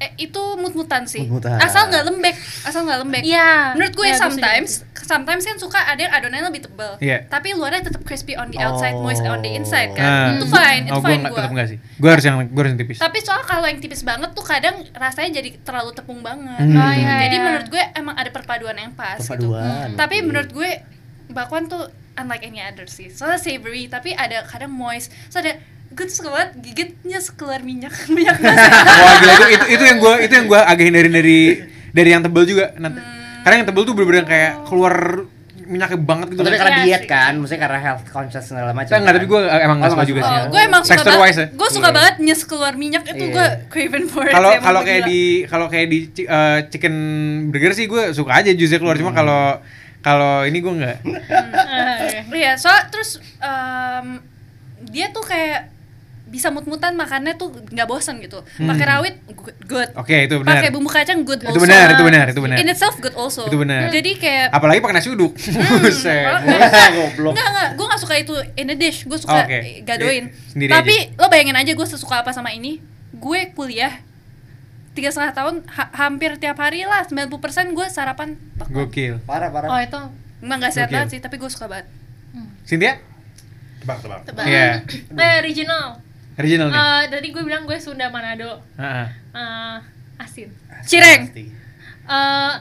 [SPEAKER 5] eh, itu mut-mutan sih.
[SPEAKER 2] Mut-mutan.
[SPEAKER 5] Asal nggak lembek, asal nggak lembek.
[SPEAKER 6] Iya.
[SPEAKER 5] Menurut gue
[SPEAKER 6] Iya,
[SPEAKER 5] sometimes, sometimes kan suka ada yang adonannya lebih tebal.
[SPEAKER 3] Iya. Oh.
[SPEAKER 5] Tapi luarnya tetap crispy on the outside, moist on the inside
[SPEAKER 3] Ah.
[SPEAKER 5] kan. Itu fine, itu
[SPEAKER 3] Oh, gue
[SPEAKER 5] fine
[SPEAKER 3] nggak
[SPEAKER 5] gue.
[SPEAKER 3] tetap nggak sih. Gue harus yang gue harus yang tipis.
[SPEAKER 5] Tapi soal kalau yang tipis banget tuh kadang rasanya jadi terlalu tepung banget.
[SPEAKER 3] Hmm. Oh, iya,
[SPEAKER 5] Jadi
[SPEAKER 6] iya.
[SPEAKER 5] menurut gue emang ada perpaduan yang pas gitu.
[SPEAKER 2] Perpaduan.
[SPEAKER 5] Tapi
[SPEAKER 3] Iya.
[SPEAKER 5] menurut gue bakwan tuh unlike any other sih. Soalnya savory tapi ada kadang moist. So ada gue tuh suka banget gigitnya sekeluar minyak minyak
[SPEAKER 2] Iya,
[SPEAKER 5] nasi.
[SPEAKER 3] Wah gila itu itu, itu yang gue itu yang gue agak hindarin dari dari yang tebel juga nanti.
[SPEAKER 5] Hmm.
[SPEAKER 3] Karena yang tebel tuh bener-bener yang
[SPEAKER 5] Oh.
[SPEAKER 3] kayak keluar minyaknya banget gitu.
[SPEAKER 2] Tapi
[SPEAKER 3] kan.
[SPEAKER 2] karena
[SPEAKER 6] Iya
[SPEAKER 2] diet
[SPEAKER 6] sih.
[SPEAKER 2] kan, maksudnya karena health conscious segala macam.
[SPEAKER 3] Enggak, tapi gue emang nggak
[SPEAKER 2] Oh,
[SPEAKER 3] suka
[SPEAKER 2] nggak
[SPEAKER 3] juga
[SPEAKER 2] suka.
[SPEAKER 3] sih.
[SPEAKER 5] Oh, gue emang suka
[SPEAKER 3] Texture
[SPEAKER 5] banget.
[SPEAKER 3] wise ya.
[SPEAKER 5] Gue suka
[SPEAKER 2] Iya.
[SPEAKER 5] banget nyes keluar minyak itu
[SPEAKER 2] Iya.
[SPEAKER 5] gue craven for it.
[SPEAKER 3] Kalau
[SPEAKER 5] sih, emang
[SPEAKER 3] kalau
[SPEAKER 5] gue
[SPEAKER 3] kayak
[SPEAKER 5] gila.
[SPEAKER 3] di kalau kayak di ci- eh, chicken burger sih gue suka aja jusnya keluar
[SPEAKER 2] Hmm.
[SPEAKER 3] cuma kalau kalau ini gue nggak.
[SPEAKER 6] Ah, oke.
[SPEAKER 5] Iya, so terus em, dia tuh kayak bisa mut-mutan makannya tuh nggak bosan gitu.
[SPEAKER 2] Hmm.
[SPEAKER 5] Pakai rawit good. good.
[SPEAKER 3] Oke, itu benar.
[SPEAKER 5] Pakai bumbu kacang good
[SPEAKER 3] Itu
[SPEAKER 5] also.
[SPEAKER 3] benar, itu benar, itu benar.
[SPEAKER 5] In itself good also.
[SPEAKER 3] Itu benar.
[SPEAKER 5] Jadi
[SPEAKER 6] Eh.
[SPEAKER 5] kayak
[SPEAKER 3] Apalagi pakai nasi uduk.
[SPEAKER 6] Hmm,
[SPEAKER 3] Buset.
[SPEAKER 2] Goblok.
[SPEAKER 5] Enggak, enggak, gue gak suka itu in a dish, gue
[SPEAKER 3] Oh,
[SPEAKER 5] suka
[SPEAKER 3] Oke.
[SPEAKER 5] eh, gadoin
[SPEAKER 3] Sendiri
[SPEAKER 5] Tapi lo bayangin aja gue sesuka apa sama ini Gue kuliah tiga setengah tahun ha- hampir tiap hari lah 90% gue sarapan toko
[SPEAKER 3] Gokil.
[SPEAKER 2] Parah parah.
[SPEAKER 6] Oh itu hmm.
[SPEAKER 5] emang gak sehat
[SPEAKER 3] Gokil.
[SPEAKER 5] banget sih tapi gue suka banget
[SPEAKER 3] Cynthia?
[SPEAKER 4] Tebak, tebak.
[SPEAKER 6] tebak.
[SPEAKER 3] Iya.
[SPEAKER 6] Eh, original.
[SPEAKER 3] Original nih.
[SPEAKER 6] Eh, tadi gue bilang gue Sunda Manado.
[SPEAKER 3] Heeh.
[SPEAKER 6] Eh, asin.
[SPEAKER 5] cireng
[SPEAKER 2] Pasti.
[SPEAKER 6] Eh,
[SPEAKER 2] Iya,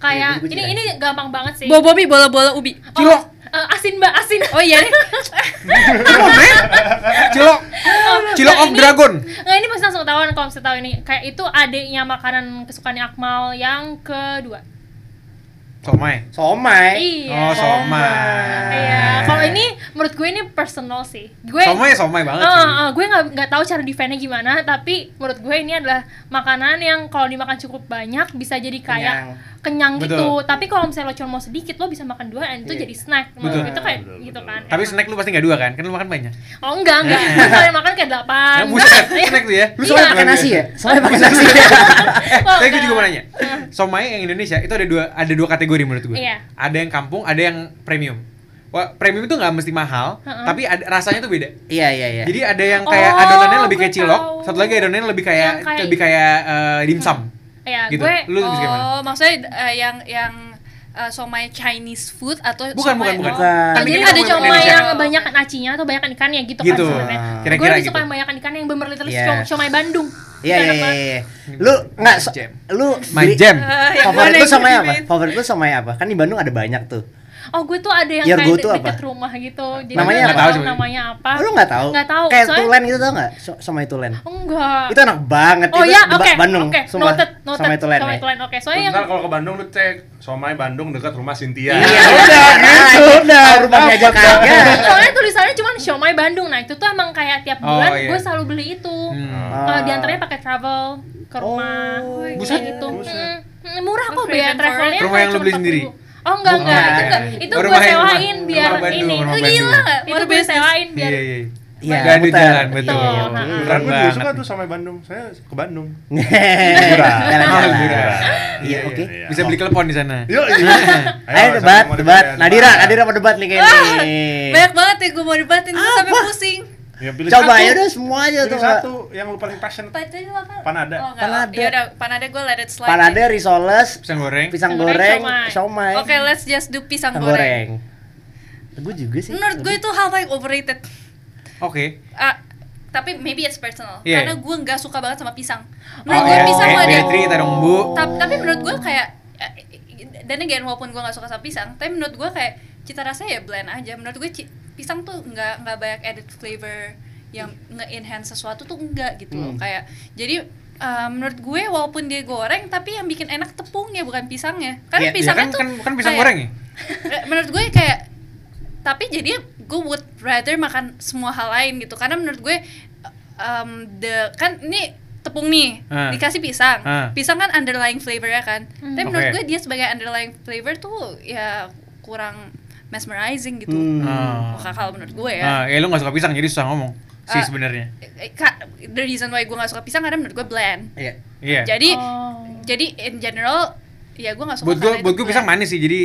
[SPEAKER 6] kayak
[SPEAKER 2] tadi gue
[SPEAKER 6] ini
[SPEAKER 2] cireng.
[SPEAKER 6] ini gampang banget sih.
[SPEAKER 5] bobomi bola bola ubi
[SPEAKER 6] Oh, eh, asin mbak asin.
[SPEAKER 5] oh iya deh
[SPEAKER 3] Cilok, men. Cilok. Cilok of
[SPEAKER 6] Oh, ini-
[SPEAKER 3] Dragon.
[SPEAKER 6] Nggak ini pasti langsung ketahuan kalau misalnya tahu ini kayak itu adiknya makanan kesukaannya Akmal yang kedua.
[SPEAKER 3] Somai.
[SPEAKER 2] Somai.
[SPEAKER 6] Iya.
[SPEAKER 3] Oh, somai.
[SPEAKER 6] Iya. Kalau ini menurut gue ini personal sih. Gue
[SPEAKER 3] somai ya somai banget
[SPEAKER 6] Eh,
[SPEAKER 3] sih.
[SPEAKER 6] eh, gue nggak nggak tahu cara defendnya gimana, tapi menurut gue ini adalah makanan yang kalau dimakan cukup banyak bisa jadi kayak kenyang,
[SPEAKER 3] Betul.
[SPEAKER 6] gitu. Tapi kalau misalnya lo cuma mau sedikit, lo bisa makan dua, itu
[SPEAKER 2] Iya.
[SPEAKER 6] jadi snack.
[SPEAKER 3] Betul.
[SPEAKER 6] Menurut gue itu kayak
[SPEAKER 4] Betul,
[SPEAKER 6] gitu
[SPEAKER 4] betul.
[SPEAKER 6] kan.
[SPEAKER 3] Tapi
[SPEAKER 6] enak.
[SPEAKER 3] snack lu pasti nggak dua kan? Kan lu makan banyak.
[SPEAKER 6] Oh enggak enggak. Kalau yang makan kayak delapan.
[SPEAKER 3] Ya, buset, snack tuh ya.
[SPEAKER 2] Lu somai
[SPEAKER 6] Ah, Iya.
[SPEAKER 2] pakai nasi ya? Somai pakai nasi.
[SPEAKER 3] Eh,
[SPEAKER 6] Oh,
[SPEAKER 3] tapi gue juga mau
[SPEAKER 6] enggak.
[SPEAKER 3] nanya. Somai yang Indonesia itu ada dua ada dua kategori menurut gue.
[SPEAKER 6] Iya.
[SPEAKER 3] Ada yang kampung, ada yang premium. Wah, premium itu nggak mesti mahal,
[SPEAKER 6] Heeh.
[SPEAKER 3] tapi ada, rasanya tuh beda.
[SPEAKER 2] Iya iya iya.
[SPEAKER 3] Jadi ada yang kayak
[SPEAKER 6] Oh,
[SPEAKER 3] adonannya lebih
[SPEAKER 6] gue
[SPEAKER 3] kayak cilok,
[SPEAKER 6] tahu.
[SPEAKER 3] satu lagi adonannya lebih kayak,
[SPEAKER 6] Yang kayak-
[SPEAKER 3] lebih kayak eh, dimsum.
[SPEAKER 6] Iya,
[SPEAKER 3] Gitu.
[SPEAKER 6] gue
[SPEAKER 3] Lu lebih gimana?
[SPEAKER 5] oh maksudnya eh, yang yang eh, somai Chinese food atau
[SPEAKER 3] Bukan, bukan,
[SPEAKER 5] somai-
[SPEAKER 3] bukan.
[SPEAKER 2] Bukan.
[SPEAKER 5] Oh,
[SPEAKER 6] Oh,
[SPEAKER 3] Kan
[SPEAKER 6] jadi
[SPEAKER 3] ini
[SPEAKER 6] ada
[SPEAKER 3] kan
[SPEAKER 5] somai
[SPEAKER 6] comai
[SPEAKER 5] Indonesia.
[SPEAKER 6] yang kebanyakan acinya atau banyakan ikannya gitu,
[SPEAKER 3] Gitu.
[SPEAKER 6] kan sebenarnya. Gue
[SPEAKER 3] Kira-kira
[SPEAKER 6] lebih
[SPEAKER 3] gitu.
[SPEAKER 6] suka yang banyakan ikannya yang bener
[SPEAKER 2] Ah,
[SPEAKER 6] literally
[SPEAKER 2] Iya.
[SPEAKER 6] com- comai Bandung. Gitu kan,
[SPEAKER 2] Iya iya iya. iya. Lu nggak so-
[SPEAKER 3] Jam.
[SPEAKER 2] lu
[SPEAKER 3] My
[SPEAKER 2] beli-
[SPEAKER 3] jam.
[SPEAKER 5] Eh, yang
[SPEAKER 2] Favorit
[SPEAKER 5] mana
[SPEAKER 2] lu
[SPEAKER 5] yang
[SPEAKER 2] somai
[SPEAKER 5] gue
[SPEAKER 2] apa?
[SPEAKER 5] diemin?
[SPEAKER 2] Favorit lu somai apa? Kan di Bandung ada banyak tuh.
[SPEAKER 6] Oh, gue tuh ada yang
[SPEAKER 2] Your
[SPEAKER 6] kayak
[SPEAKER 2] go-to
[SPEAKER 6] de- deket
[SPEAKER 2] Iya, apa?
[SPEAKER 6] rumah gitu. Jadi
[SPEAKER 2] Namanya
[SPEAKER 6] gue
[SPEAKER 3] apa?
[SPEAKER 6] nggak tahu
[SPEAKER 3] Nggak tahu
[SPEAKER 6] namanya apa?
[SPEAKER 2] Oh, lu nggak tahu?
[SPEAKER 6] Nggak tahu.
[SPEAKER 2] Kayak
[SPEAKER 6] soalnya-
[SPEAKER 2] tulen gitu tau nggak? So- Somai tulen.
[SPEAKER 6] Enggak.
[SPEAKER 2] Itu enak banget.
[SPEAKER 6] oh
[SPEAKER 2] itu
[SPEAKER 6] ya,
[SPEAKER 2] di Ba-
[SPEAKER 6] oke.
[SPEAKER 2] Bandung.
[SPEAKER 6] Oke,
[SPEAKER 2] Sumpah.
[SPEAKER 6] noted, noted.
[SPEAKER 2] Somai tulen. ya.
[SPEAKER 6] Oke, soalnya yang
[SPEAKER 4] Bentar kalau ke Bandung lu cek somai Bandung dekat rumah Cynthia.
[SPEAKER 2] Iya, udah gitu. Udah, rumahnya aja kagak.
[SPEAKER 6] soalnya tulisannya cuma Siomay Bandung. Nah, itu tuh emang kayak tiap
[SPEAKER 3] Oh,
[SPEAKER 6] bulan
[SPEAKER 3] iya.
[SPEAKER 6] gue selalu beli itu.
[SPEAKER 3] Hmm.
[SPEAKER 6] Kalau diantaranya pakai travel ke rumah.
[SPEAKER 2] Oh,
[SPEAKER 6] kayak
[SPEAKER 3] buset.
[SPEAKER 6] gitu.
[SPEAKER 4] Buset.
[SPEAKER 6] Mm, mm, murah kok
[SPEAKER 5] Terus
[SPEAKER 6] biaya
[SPEAKER 5] Raven
[SPEAKER 6] travelnya.
[SPEAKER 3] Forest. Rumah yang lu beli sendiri?
[SPEAKER 6] Oh enggak, enggak.
[SPEAKER 3] Bukan.
[SPEAKER 6] Itu enggak. Itu
[SPEAKER 3] Oh,
[SPEAKER 6] gue
[SPEAKER 3] rumah yang-
[SPEAKER 6] sewain
[SPEAKER 3] rumah-
[SPEAKER 6] biar
[SPEAKER 3] rumah Bandung,
[SPEAKER 6] ini.
[SPEAKER 3] rumah
[SPEAKER 5] Itu
[SPEAKER 3] Bandung.
[SPEAKER 5] gila nggak?
[SPEAKER 6] Itu gue sewain biar
[SPEAKER 3] Iya, iya.
[SPEAKER 2] Iya,
[SPEAKER 3] Gak ada
[SPEAKER 2] muter.
[SPEAKER 3] jalan, betul.
[SPEAKER 6] Betul,
[SPEAKER 3] Iya,
[SPEAKER 6] nah.
[SPEAKER 4] Beneran gue juga
[SPEAKER 3] banget.
[SPEAKER 4] suka tuh somai Bandung. Saya ke Bandung.
[SPEAKER 2] Murah.
[SPEAKER 3] Mahal,
[SPEAKER 2] Jalan-jalan.
[SPEAKER 3] murah.
[SPEAKER 2] Iya,
[SPEAKER 4] Iya,
[SPEAKER 2] oke.
[SPEAKER 4] iya, iya.
[SPEAKER 3] Bisa beli telepon di sana.
[SPEAKER 4] Yuk, yuk.
[SPEAKER 2] Ayo Eh, debat,
[SPEAKER 4] sama-sama
[SPEAKER 2] debat.
[SPEAKER 4] debat.
[SPEAKER 2] Nadira, Nadira mau debat nih kayaknya.
[SPEAKER 5] Ah, banyak banget ya gue mau debatin gue sampai pusing
[SPEAKER 4] Ya, pilih
[SPEAKER 2] Coba
[SPEAKER 4] satu.
[SPEAKER 2] ya udah semua aja
[SPEAKER 4] Pilih
[SPEAKER 2] tuh.
[SPEAKER 4] satu yang lu paling passionate.
[SPEAKER 5] Padahal makan
[SPEAKER 4] Panada.
[SPEAKER 5] oh,
[SPEAKER 2] Panada.
[SPEAKER 5] panada ya udah panada gue let it slide
[SPEAKER 2] Panade, risoles,
[SPEAKER 3] Pisang goreng.
[SPEAKER 2] pisang
[SPEAKER 6] Pisang
[SPEAKER 2] goreng,
[SPEAKER 6] goreng,
[SPEAKER 2] somai,
[SPEAKER 5] Oke, let's just do pisang
[SPEAKER 2] pisang
[SPEAKER 5] goreng.
[SPEAKER 2] goreng. Gue juga sih.
[SPEAKER 5] Menurut gue itu hal paling overrated.
[SPEAKER 3] Oke.
[SPEAKER 5] Ah, tapi maybe it's personal.
[SPEAKER 3] Iya.
[SPEAKER 5] Karena gue nggak suka banget sama pisang.
[SPEAKER 6] Nah,
[SPEAKER 5] Menurut
[SPEAKER 3] Oh,
[SPEAKER 5] gue
[SPEAKER 3] ya.
[SPEAKER 5] pisang
[SPEAKER 3] Eh,
[SPEAKER 5] ada.
[SPEAKER 3] Beatrice, kita dong, Bu.
[SPEAKER 5] Ta- tapi menurut gue kayak eh, dan again walaupun gue nggak suka sama pisang, tapi menurut gue kayak cita rasanya ya blend aja. Menurut gue ci- pisang tuh nggak nggak banyak added flavor yang nge-enhance sesuatu tuh enggak gitu
[SPEAKER 3] Hmm.
[SPEAKER 5] loh. Kayak jadi eh, menurut gue walaupun dia goreng tapi yang bikin enak tepungnya bukan pisangnya. Karena
[SPEAKER 2] Iya, iya,
[SPEAKER 3] Iya
[SPEAKER 5] pisangnya
[SPEAKER 3] kan,
[SPEAKER 5] tuh
[SPEAKER 3] kan, kan pisang
[SPEAKER 5] kayak-
[SPEAKER 3] goreng ya?
[SPEAKER 5] Eh, menurut gue kayak tapi jadi gue would rather makan semua hal lain gitu karena menurut gue um, the kan ini tepung nih
[SPEAKER 3] Ah.
[SPEAKER 5] dikasih pisang
[SPEAKER 3] Ah.
[SPEAKER 5] pisang kan underlying flavor ya kan
[SPEAKER 6] Hmm.
[SPEAKER 5] tapi menurut
[SPEAKER 3] Oke.
[SPEAKER 5] gue dia sebagai underlying flavor tuh ya kurang mesmerizing gitu
[SPEAKER 2] Hmm.
[SPEAKER 3] Ah.
[SPEAKER 5] Kalau- kalau menurut gue
[SPEAKER 3] Ah,
[SPEAKER 5] ya
[SPEAKER 3] ya lu gak suka pisang jadi susah ngomong sih
[SPEAKER 5] Ah.
[SPEAKER 3] sebenarnya.
[SPEAKER 5] Eh, ka- the reason why gue gak suka pisang karena menurut gue bland
[SPEAKER 2] Iya.
[SPEAKER 3] Iya.
[SPEAKER 5] jadi
[SPEAKER 6] Oh.
[SPEAKER 5] jadi in general ya gue gak suka
[SPEAKER 3] Buat gua
[SPEAKER 5] karena itu ya.
[SPEAKER 3] buat gua pisang
[SPEAKER 5] bland.
[SPEAKER 3] manis sih jadi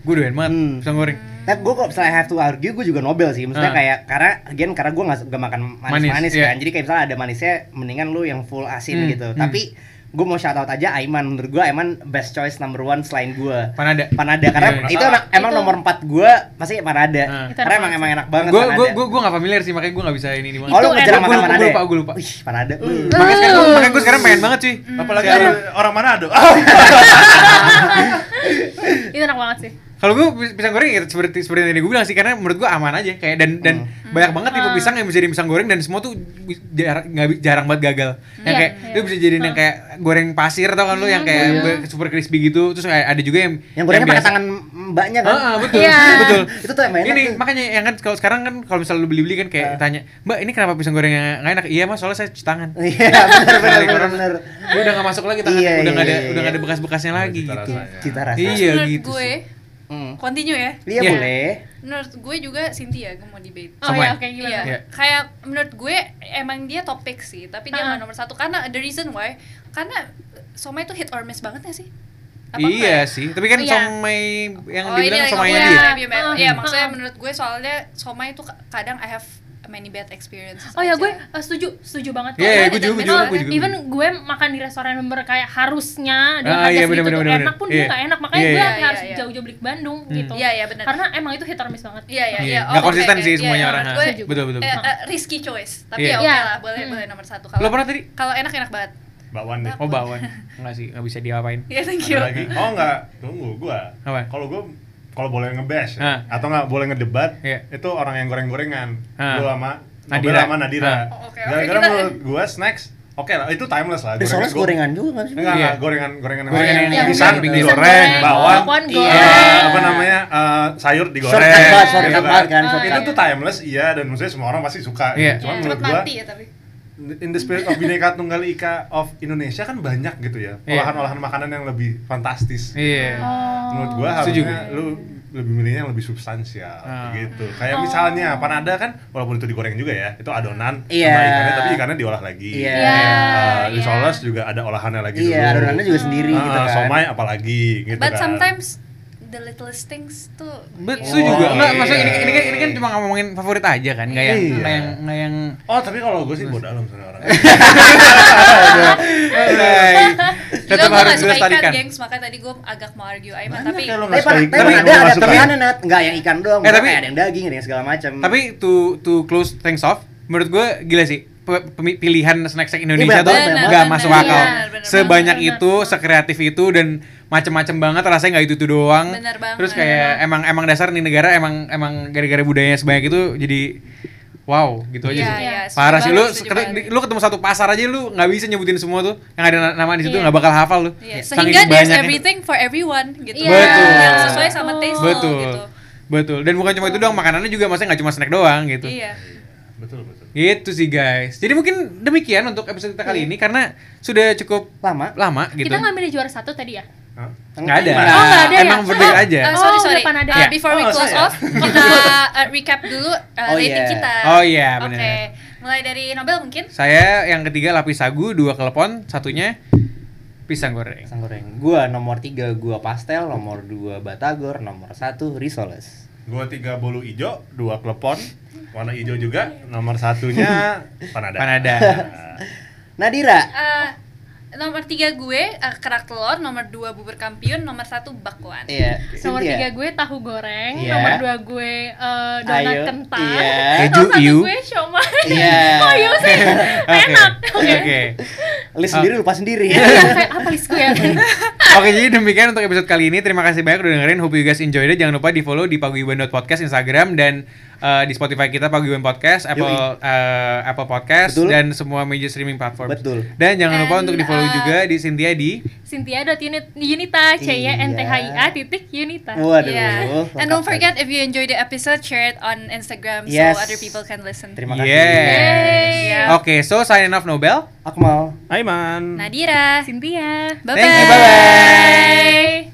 [SPEAKER 3] gua doyan banget
[SPEAKER 2] Hmm.
[SPEAKER 3] pisang goreng.
[SPEAKER 2] Tapi gue kalau misalnya have to argue, gue juga Nobel sih. Maksudnya
[SPEAKER 3] Ah.
[SPEAKER 2] kayak karena again karena gue nggak gak makan manis-manis
[SPEAKER 3] Manis, iya.
[SPEAKER 2] kan. Jadi kayak misalnya ada manisnya, mendingan lu yang full asin
[SPEAKER 3] Hmm,
[SPEAKER 2] gitu.
[SPEAKER 3] hmm.
[SPEAKER 2] Tapi gue mau shout out aja Aiman. Menurut gue Aiman best choice number one selain gue.
[SPEAKER 3] Panada.
[SPEAKER 2] Panada karena
[SPEAKER 3] Iya,
[SPEAKER 2] itu
[SPEAKER 4] iya.
[SPEAKER 2] enak- emang
[SPEAKER 6] Itu-
[SPEAKER 2] nomor 4 gue masih Panada.
[SPEAKER 3] Ah.
[SPEAKER 2] Karena
[SPEAKER 6] Itu enak
[SPEAKER 2] emang
[SPEAKER 6] banget
[SPEAKER 2] emang enak banget ya.
[SPEAKER 3] Gua
[SPEAKER 2] Panada.
[SPEAKER 3] gua gua gua gak familiar sih makanya gua gak bisa ini ini
[SPEAKER 2] Oh,
[SPEAKER 3] banget.
[SPEAKER 2] lu
[SPEAKER 6] Itu
[SPEAKER 2] ngejar
[SPEAKER 6] enak. Hmm.
[SPEAKER 2] makan
[SPEAKER 3] Gua
[SPEAKER 2] Panada.
[SPEAKER 3] lupa,
[SPEAKER 2] ya?
[SPEAKER 3] gua lupa.
[SPEAKER 2] Wih, Hmm. Panada.
[SPEAKER 3] Makanya sekarang gua, makanya gua sekarang pengen banget kan sih.
[SPEAKER 4] Apalagi
[SPEAKER 3] Sekarang-
[SPEAKER 4] orang- orang mana aduh.
[SPEAKER 6] Itu enak banget sih.
[SPEAKER 3] Kalau gue pisang goreng ya seperti seperti yang tadi gue bilang sih karena menurut gue aman aja kayak dan dan
[SPEAKER 2] Hmm.
[SPEAKER 3] banyak banget tipe
[SPEAKER 6] Ah.
[SPEAKER 3] pisang yang bisa jadi pisang goreng dan semua tuh bi- jarang nggak bi- jarang banget gagal. Yang
[SPEAKER 6] Iya,
[SPEAKER 3] kayak
[SPEAKER 6] iya.
[SPEAKER 3] lu bisa jadiin yang kayak goreng pasir atau kan lu yang kayak
[SPEAKER 6] iya.
[SPEAKER 3] be- super crispy gitu terus kayak ada juga yang
[SPEAKER 2] Yang gorengnya pakai
[SPEAKER 3] biasa.
[SPEAKER 2] tangan mbaknya kan.
[SPEAKER 3] Ah, ah, betul,
[SPEAKER 6] Iya.
[SPEAKER 3] betul.
[SPEAKER 2] Itu tuh yang enak
[SPEAKER 3] ini
[SPEAKER 2] tuh. Ah.
[SPEAKER 3] makanya yang kan kalau sekarang kan kalau misalnya lu beli-beli kan kayak tanya, "Mbak, ini kenapa pisang gorengnya nggak enak?" "Iya, Mas, soalnya saya cuci tangan."
[SPEAKER 2] Iya, benar benar benar benar.
[SPEAKER 3] Dia udah nggak masuk lagi tangannya,
[SPEAKER 2] Iya,
[SPEAKER 3] udah nggak
[SPEAKER 2] iya,
[SPEAKER 3] ada
[SPEAKER 2] iya,
[SPEAKER 3] udah nggak
[SPEAKER 2] iya.
[SPEAKER 3] ada bekas-bekasnya lagi
[SPEAKER 4] Cita
[SPEAKER 3] gitu.
[SPEAKER 4] rasanya.
[SPEAKER 2] Cita rasa.
[SPEAKER 5] Terus
[SPEAKER 3] Iya,
[SPEAKER 5] menurut
[SPEAKER 3] gitu
[SPEAKER 5] gue
[SPEAKER 3] sih.
[SPEAKER 2] Hmm.
[SPEAKER 5] continue ya
[SPEAKER 2] Iya
[SPEAKER 3] Iya.
[SPEAKER 2] boleh.
[SPEAKER 5] menurut gue juga Cynthia gue mau debate
[SPEAKER 6] Oh
[SPEAKER 3] Somai.
[SPEAKER 6] ya, oke gimana?
[SPEAKER 5] Iya.
[SPEAKER 3] Iya.
[SPEAKER 5] Kayak menurut gue emang dia topik sih, tapi dia
[SPEAKER 6] Ah.
[SPEAKER 5] nggak nomor satu karena the reason why karena somai itu hit or miss banget ya sih?
[SPEAKER 3] Iya sih, tapi kan
[SPEAKER 6] Iya.
[SPEAKER 3] somai yang
[SPEAKER 5] enggak? ya? oh, ini
[SPEAKER 3] dibilang somainya
[SPEAKER 5] lagi
[SPEAKER 6] Oh.
[SPEAKER 5] ngomongin
[SPEAKER 3] dia.
[SPEAKER 5] somai biomedis. Iya,
[SPEAKER 6] Ah.
[SPEAKER 5] maksudnya
[SPEAKER 6] Ah.
[SPEAKER 5] menurut gue soalnya somai itu ka- kadang I have many bad experiences
[SPEAKER 6] Oh ya
[SPEAKER 5] aja.
[SPEAKER 6] gue eh, setuju, setuju banget.
[SPEAKER 3] Iya, iya,
[SPEAKER 6] Karena
[SPEAKER 3] gue juga, gue
[SPEAKER 6] even-
[SPEAKER 3] juga, gue juga.
[SPEAKER 6] Even gue makan di restoran yang berkayak harusnya dengan
[SPEAKER 3] Ah,
[SPEAKER 6] harga
[SPEAKER 3] iya,
[SPEAKER 6] segitu
[SPEAKER 3] bener,
[SPEAKER 6] tuh
[SPEAKER 3] bener, bener.
[SPEAKER 6] enak pun
[SPEAKER 3] Iya.
[SPEAKER 6] gue gak enak.
[SPEAKER 3] Iya,
[SPEAKER 6] Makanya
[SPEAKER 3] Hmm.
[SPEAKER 6] gue
[SPEAKER 5] iya, iya,
[SPEAKER 6] harus
[SPEAKER 5] iya.
[SPEAKER 6] jauh-jauh beli ke Bandung gitu.
[SPEAKER 5] Iya, iya, benar.
[SPEAKER 6] Karena emang itu hit or miss banget.
[SPEAKER 5] Iya, iya,
[SPEAKER 3] Iya,
[SPEAKER 5] iya.
[SPEAKER 3] nggak
[SPEAKER 5] oke,
[SPEAKER 3] konsisten
[SPEAKER 5] oke,
[SPEAKER 3] sih
[SPEAKER 5] iya,
[SPEAKER 3] semuanya
[SPEAKER 5] iya,
[SPEAKER 3] orang,
[SPEAKER 5] gue-
[SPEAKER 6] ah.
[SPEAKER 3] Betul, betul,
[SPEAKER 5] eh,
[SPEAKER 3] betul.
[SPEAKER 5] eh, risky choice, tapi
[SPEAKER 3] Iya.
[SPEAKER 5] ya oke
[SPEAKER 6] Iya.
[SPEAKER 5] lah, boleh
[SPEAKER 6] Hmm.
[SPEAKER 5] boleh nomor satu
[SPEAKER 3] Lo
[SPEAKER 5] kalau
[SPEAKER 3] pernah tadi?
[SPEAKER 5] kalau enak enak banget.
[SPEAKER 4] bakwan deh
[SPEAKER 3] Oh bawaan. Enggak sih, nggak bisa diapain.
[SPEAKER 5] Ya, thank you.
[SPEAKER 4] Ada lagi oh enggak tunggu gua
[SPEAKER 3] Iya. Apa?
[SPEAKER 4] kalau gua kalau boleh ngebash
[SPEAKER 3] Ah.
[SPEAKER 4] ya, atau nggak boleh ngedebat
[SPEAKER 3] Iya.
[SPEAKER 4] itu orang yang goreng-gorengan
[SPEAKER 3] Ah.
[SPEAKER 4] lu sama
[SPEAKER 3] Nadira.
[SPEAKER 4] Nadira sama Nadira
[SPEAKER 3] Ah.
[SPEAKER 5] Oh, oke, oke,
[SPEAKER 4] gara-gara
[SPEAKER 5] kita-
[SPEAKER 4] menurut gua snacks oke lah itu timeless lah
[SPEAKER 2] Eh, Soalnya
[SPEAKER 4] gua-
[SPEAKER 2] gorengan juga kan sih.
[SPEAKER 4] Enggak,
[SPEAKER 3] Iya.
[SPEAKER 4] enggak, gorengan gorengan
[SPEAKER 3] Gorengan
[SPEAKER 4] lain.
[SPEAKER 3] yang- yang
[SPEAKER 4] pisang
[SPEAKER 3] goreng,
[SPEAKER 4] digoreng,
[SPEAKER 6] pisang
[SPEAKER 4] bawang,
[SPEAKER 6] goreng,
[SPEAKER 4] iya,
[SPEAKER 6] goreng.
[SPEAKER 4] apa namanya? eh, sayur digoreng.
[SPEAKER 2] Shortcut banget,
[SPEAKER 4] gitu
[SPEAKER 2] shortcut
[SPEAKER 4] kan.
[SPEAKER 2] banget kan,
[SPEAKER 6] Ah,
[SPEAKER 4] Itu
[SPEAKER 2] shortcut.
[SPEAKER 4] tuh timeless, iya dan maksudnya semua orang pasti suka.
[SPEAKER 3] Iya.
[SPEAKER 4] gitu. Cuman
[SPEAKER 6] Iya.
[SPEAKER 5] Cepet
[SPEAKER 4] menurut gua
[SPEAKER 5] mati ya tapi.
[SPEAKER 4] in the spirit of Bhinneka Tunggal Ika of Indonesia kan banyak gitu ya.
[SPEAKER 3] Iya.
[SPEAKER 4] Olahan-olahan makanan yang lebih fantastis.
[SPEAKER 3] Iya.
[SPEAKER 6] Oh.
[SPEAKER 4] Menurut gua
[SPEAKER 3] Setuju.
[SPEAKER 4] harusnya lu lebih milihnya yang lebih substansial
[SPEAKER 3] Ah.
[SPEAKER 4] gitu. Kayak misalnya panada kan walaupun itu digoreng juga ya, itu adonan sama
[SPEAKER 2] Iya.
[SPEAKER 4] ikannya tapi ikannya diolah lagi.
[SPEAKER 2] Iya.
[SPEAKER 6] Iya,
[SPEAKER 4] Eh,
[SPEAKER 6] iya.
[SPEAKER 4] risoles juga ada olahannya
[SPEAKER 3] gitu.
[SPEAKER 4] lagi
[SPEAKER 2] Iya,
[SPEAKER 4] dulu.
[SPEAKER 2] adonannya juga sendiri gitu
[SPEAKER 4] Ah,
[SPEAKER 2] kan.
[SPEAKER 4] Somai apalagi gitu
[SPEAKER 5] But
[SPEAKER 4] kan.
[SPEAKER 5] sometimes the littlest things tuh.
[SPEAKER 3] Bet,
[SPEAKER 5] iya.
[SPEAKER 3] setuju juga.
[SPEAKER 4] Oh,
[SPEAKER 3] Enggak,
[SPEAKER 4] iya.
[SPEAKER 3] maksudnya ini, ini kan ini kan cuma ngomongin favorit aja kan, enggak yang
[SPEAKER 4] Iya.
[SPEAKER 3] enggak yang enggak yang
[SPEAKER 4] Oh, tapi kalau gue sih bodoh alam sama orang.
[SPEAKER 5] Gila,
[SPEAKER 3] Tetap
[SPEAKER 5] gue
[SPEAKER 3] harus
[SPEAKER 5] gak suka ikan,
[SPEAKER 3] dilestarikan.
[SPEAKER 5] gengs. Makanya tadi gue agak mau argue Aiman, tapi
[SPEAKER 4] Kalau
[SPEAKER 2] Tapi,
[SPEAKER 4] nggak suka
[SPEAKER 2] tapi,
[SPEAKER 4] ikan,
[SPEAKER 2] tapi
[SPEAKER 4] nggak
[SPEAKER 2] eh, ada,
[SPEAKER 4] mau
[SPEAKER 2] ada
[SPEAKER 4] masuk.
[SPEAKER 2] pilihannya Nat Nggak yang ikan doang,
[SPEAKER 3] Eh, tapi-
[SPEAKER 2] kayak ada yang daging, ada yang segala macam
[SPEAKER 3] Tapi to to close thanks off, menurut gue gila sih. Pe- pemi- pilihan snack snack Indonesia
[SPEAKER 2] Iya,
[SPEAKER 3] tuh
[SPEAKER 2] benar,
[SPEAKER 3] nggak
[SPEAKER 5] benar,
[SPEAKER 3] masuk
[SPEAKER 5] benar,
[SPEAKER 3] akal.
[SPEAKER 5] benar, benar,
[SPEAKER 3] Sebanyak
[SPEAKER 6] benar.
[SPEAKER 3] itu, sekreatif itu dan macem-macem banget rasanya nggak itu itu doang.
[SPEAKER 5] Benar banget.
[SPEAKER 3] Terus kayak emang emang dasar nih negara emang emang gara-gara budayanya sebanyak itu jadi wow gitu aja
[SPEAKER 5] Iya,
[SPEAKER 3] sih.
[SPEAKER 5] iya, setuju
[SPEAKER 3] Parah sih lu,
[SPEAKER 5] banget, setuju
[SPEAKER 3] seketu-
[SPEAKER 5] banget.
[SPEAKER 3] di- lu ketemu satu pasar aja lu nggak bisa nyebutin semua tuh yang ada na- nama di situ
[SPEAKER 6] Iya.
[SPEAKER 3] nggak bakal hafal lu.
[SPEAKER 5] Iya,
[SPEAKER 3] Saking
[SPEAKER 5] sehingga there's
[SPEAKER 3] banyaknya.
[SPEAKER 5] everything for everyone gitu.
[SPEAKER 6] Iya.
[SPEAKER 3] Betul.
[SPEAKER 5] Yang sesuai sama taste lo
[SPEAKER 3] Betul.
[SPEAKER 5] gitu.
[SPEAKER 3] Betul. Dan bukan cuma itu doang, makanannya juga maksudnya nggak cuma snack doang gitu.
[SPEAKER 5] Iya.
[SPEAKER 4] Betul, betul.
[SPEAKER 3] Gitu sih guys. Jadi mungkin demikian untuk episode kita kali ini karena sudah cukup
[SPEAKER 2] Lama
[SPEAKER 3] lama gitu.
[SPEAKER 6] Iya. Kita ngambil juara satu tadi ya?
[SPEAKER 4] Hah?
[SPEAKER 3] Ah, Nggak ada.
[SPEAKER 2] Nggak.
[SPEAKER 6] Oh, nggak ada
[SPEAKER 3] Emang
[SPEAKER 6] ya?
[SPEAKER 3] berdiri
[SPEAKER 6] Oh,
[SPEAKER 3] aja.
[SPEAKER 5] Eh, sorry,
[SPEAKER 6] Oh,
[SPEAKER 5] sorry.
[SPEAKER 6] depan ada.
[SPEAKER 5] Eh,
[SPEAKER 6] Iya.
[SPEAKER 5] before we
[SPEAKER 4] Oh,
[SPEAKER 5] close
[SPEAKER 4] saya.
[SPEAKER 5] off, kita eh, recap dulu eh,
[SPEAKER 2] Oh,
[SPEAKER 5] rating
[SPEAKER 2] iya.
[SPEAKER 5] kita.
[SPEAKER 3] ya. Oh, iya, benar.
[SPEAKER 5] Oke, mulai dari Nobel mungkin.
[SPEAKER 3] Saya yang ketiga lapis sagu, dua klepon, satunya pisang goreng.
[SPEAKER 2] Pisang goreng Gua nomor 3, gua pastel Nomor 2, batagor Nomor 1, risoles
[SPEAKER 4] Gua tiga bolu ijo, dua klepon, warna ijo juga. Nomor satunya panada. Ah.
[SPEAKER 3] Panada.
[SPEAKER 2] Nadira
[SPEAKER 5] Eh, nomor tiga gue eh, kerak telur, nomor dua bubur kampiun, nomor satu bakwan.
[SPEAKER 2] Iya
[SPEAKER 6] Nomor
[SPEAKER 2] Cynthia.
[SPEAKER 6] tiga gue tahu goreng,
[SPEAKER 2] Iya.
[SPEAKER 6] nomor dua gue eh, donat
[SPEAKER 2] Ayo.
[SPEAKER 6] kentang,
[SPEAKER 2] Iya.
[SPEAKER 3] Keju,
[SPEAKER 6] nomor satu
[SPEAKER 3] iu.
[SPEAKER 6] gue siomay.
[SPEAKER 2] Iya.
[SPEAKER 6] Oh iya sih, enak.
[SPEAKER 3] Oke.
[SPEAKER 6] Oke.
[SPEAKER 3] Oke. Ah.
[SPEAKER 2] List sendiri lupa sendiri
[SPEAKER 6] Iya, kayak apa list gue ya?
[SPEAKER 3] Oke, jadi demikian untuk episode kali ini. Terima kasih banyak udah dengerin. Hope you guys enjoyed it. Jangan lupa di-follow di paguyuban.podcast Instagram dan eh, di Spotify kita Paguyuban Podcast, Apple eh, Apple Podcast
[SPEAKER 2] Betul.
[SPEAKER 3] dan semua media streaming platform.
[SPEAKER 2] Betul.
[SPEAKER 3] Dan jangan lupa
[SPEAKER 5] And,
[SPEAKER 3] untuk di-follow
[SPEAKER 5] eh,
[SPEAKER 3] juga di Cynthia di
[SPEAKER 6] Cynthia.unita, C Y N T H I
[SPEAKER 2] Iya.
[SPEAKER 6] A titik Unita.
[SPEAKER 2] Waduh
[SPEAKER 6] Iya.
[SPEAKER 5] Yeah.
[SPEAKER 2] lengkap
[SPEAKER 5] And don't
[SPEAKER 2] banget.
[SPEAKER 5] forget if you enjoy the episode, share it on Instagram
[SPEAKER 2] Yes.
[SPEAKER 5] so other people can listen.
[SPEAKER 2] Terima kasih
[SPEAKER 3] Yes.
[SPEAKER 5] Yeay.
[SPEAKER 6] Iya.
[SPEAKER 3] Oke, so sign off Nobel.
[SPEAKER 2] Akmal
[SPEAKER 4] Aiman.
[SPEAKER 5] Nadira.
[SPEAKER 6] Cynthia.
[SPEAKER 5] Bye-bye.
[SPEAKER 3] Thank you, bye-bye.
[SPEAKER 6] Bye.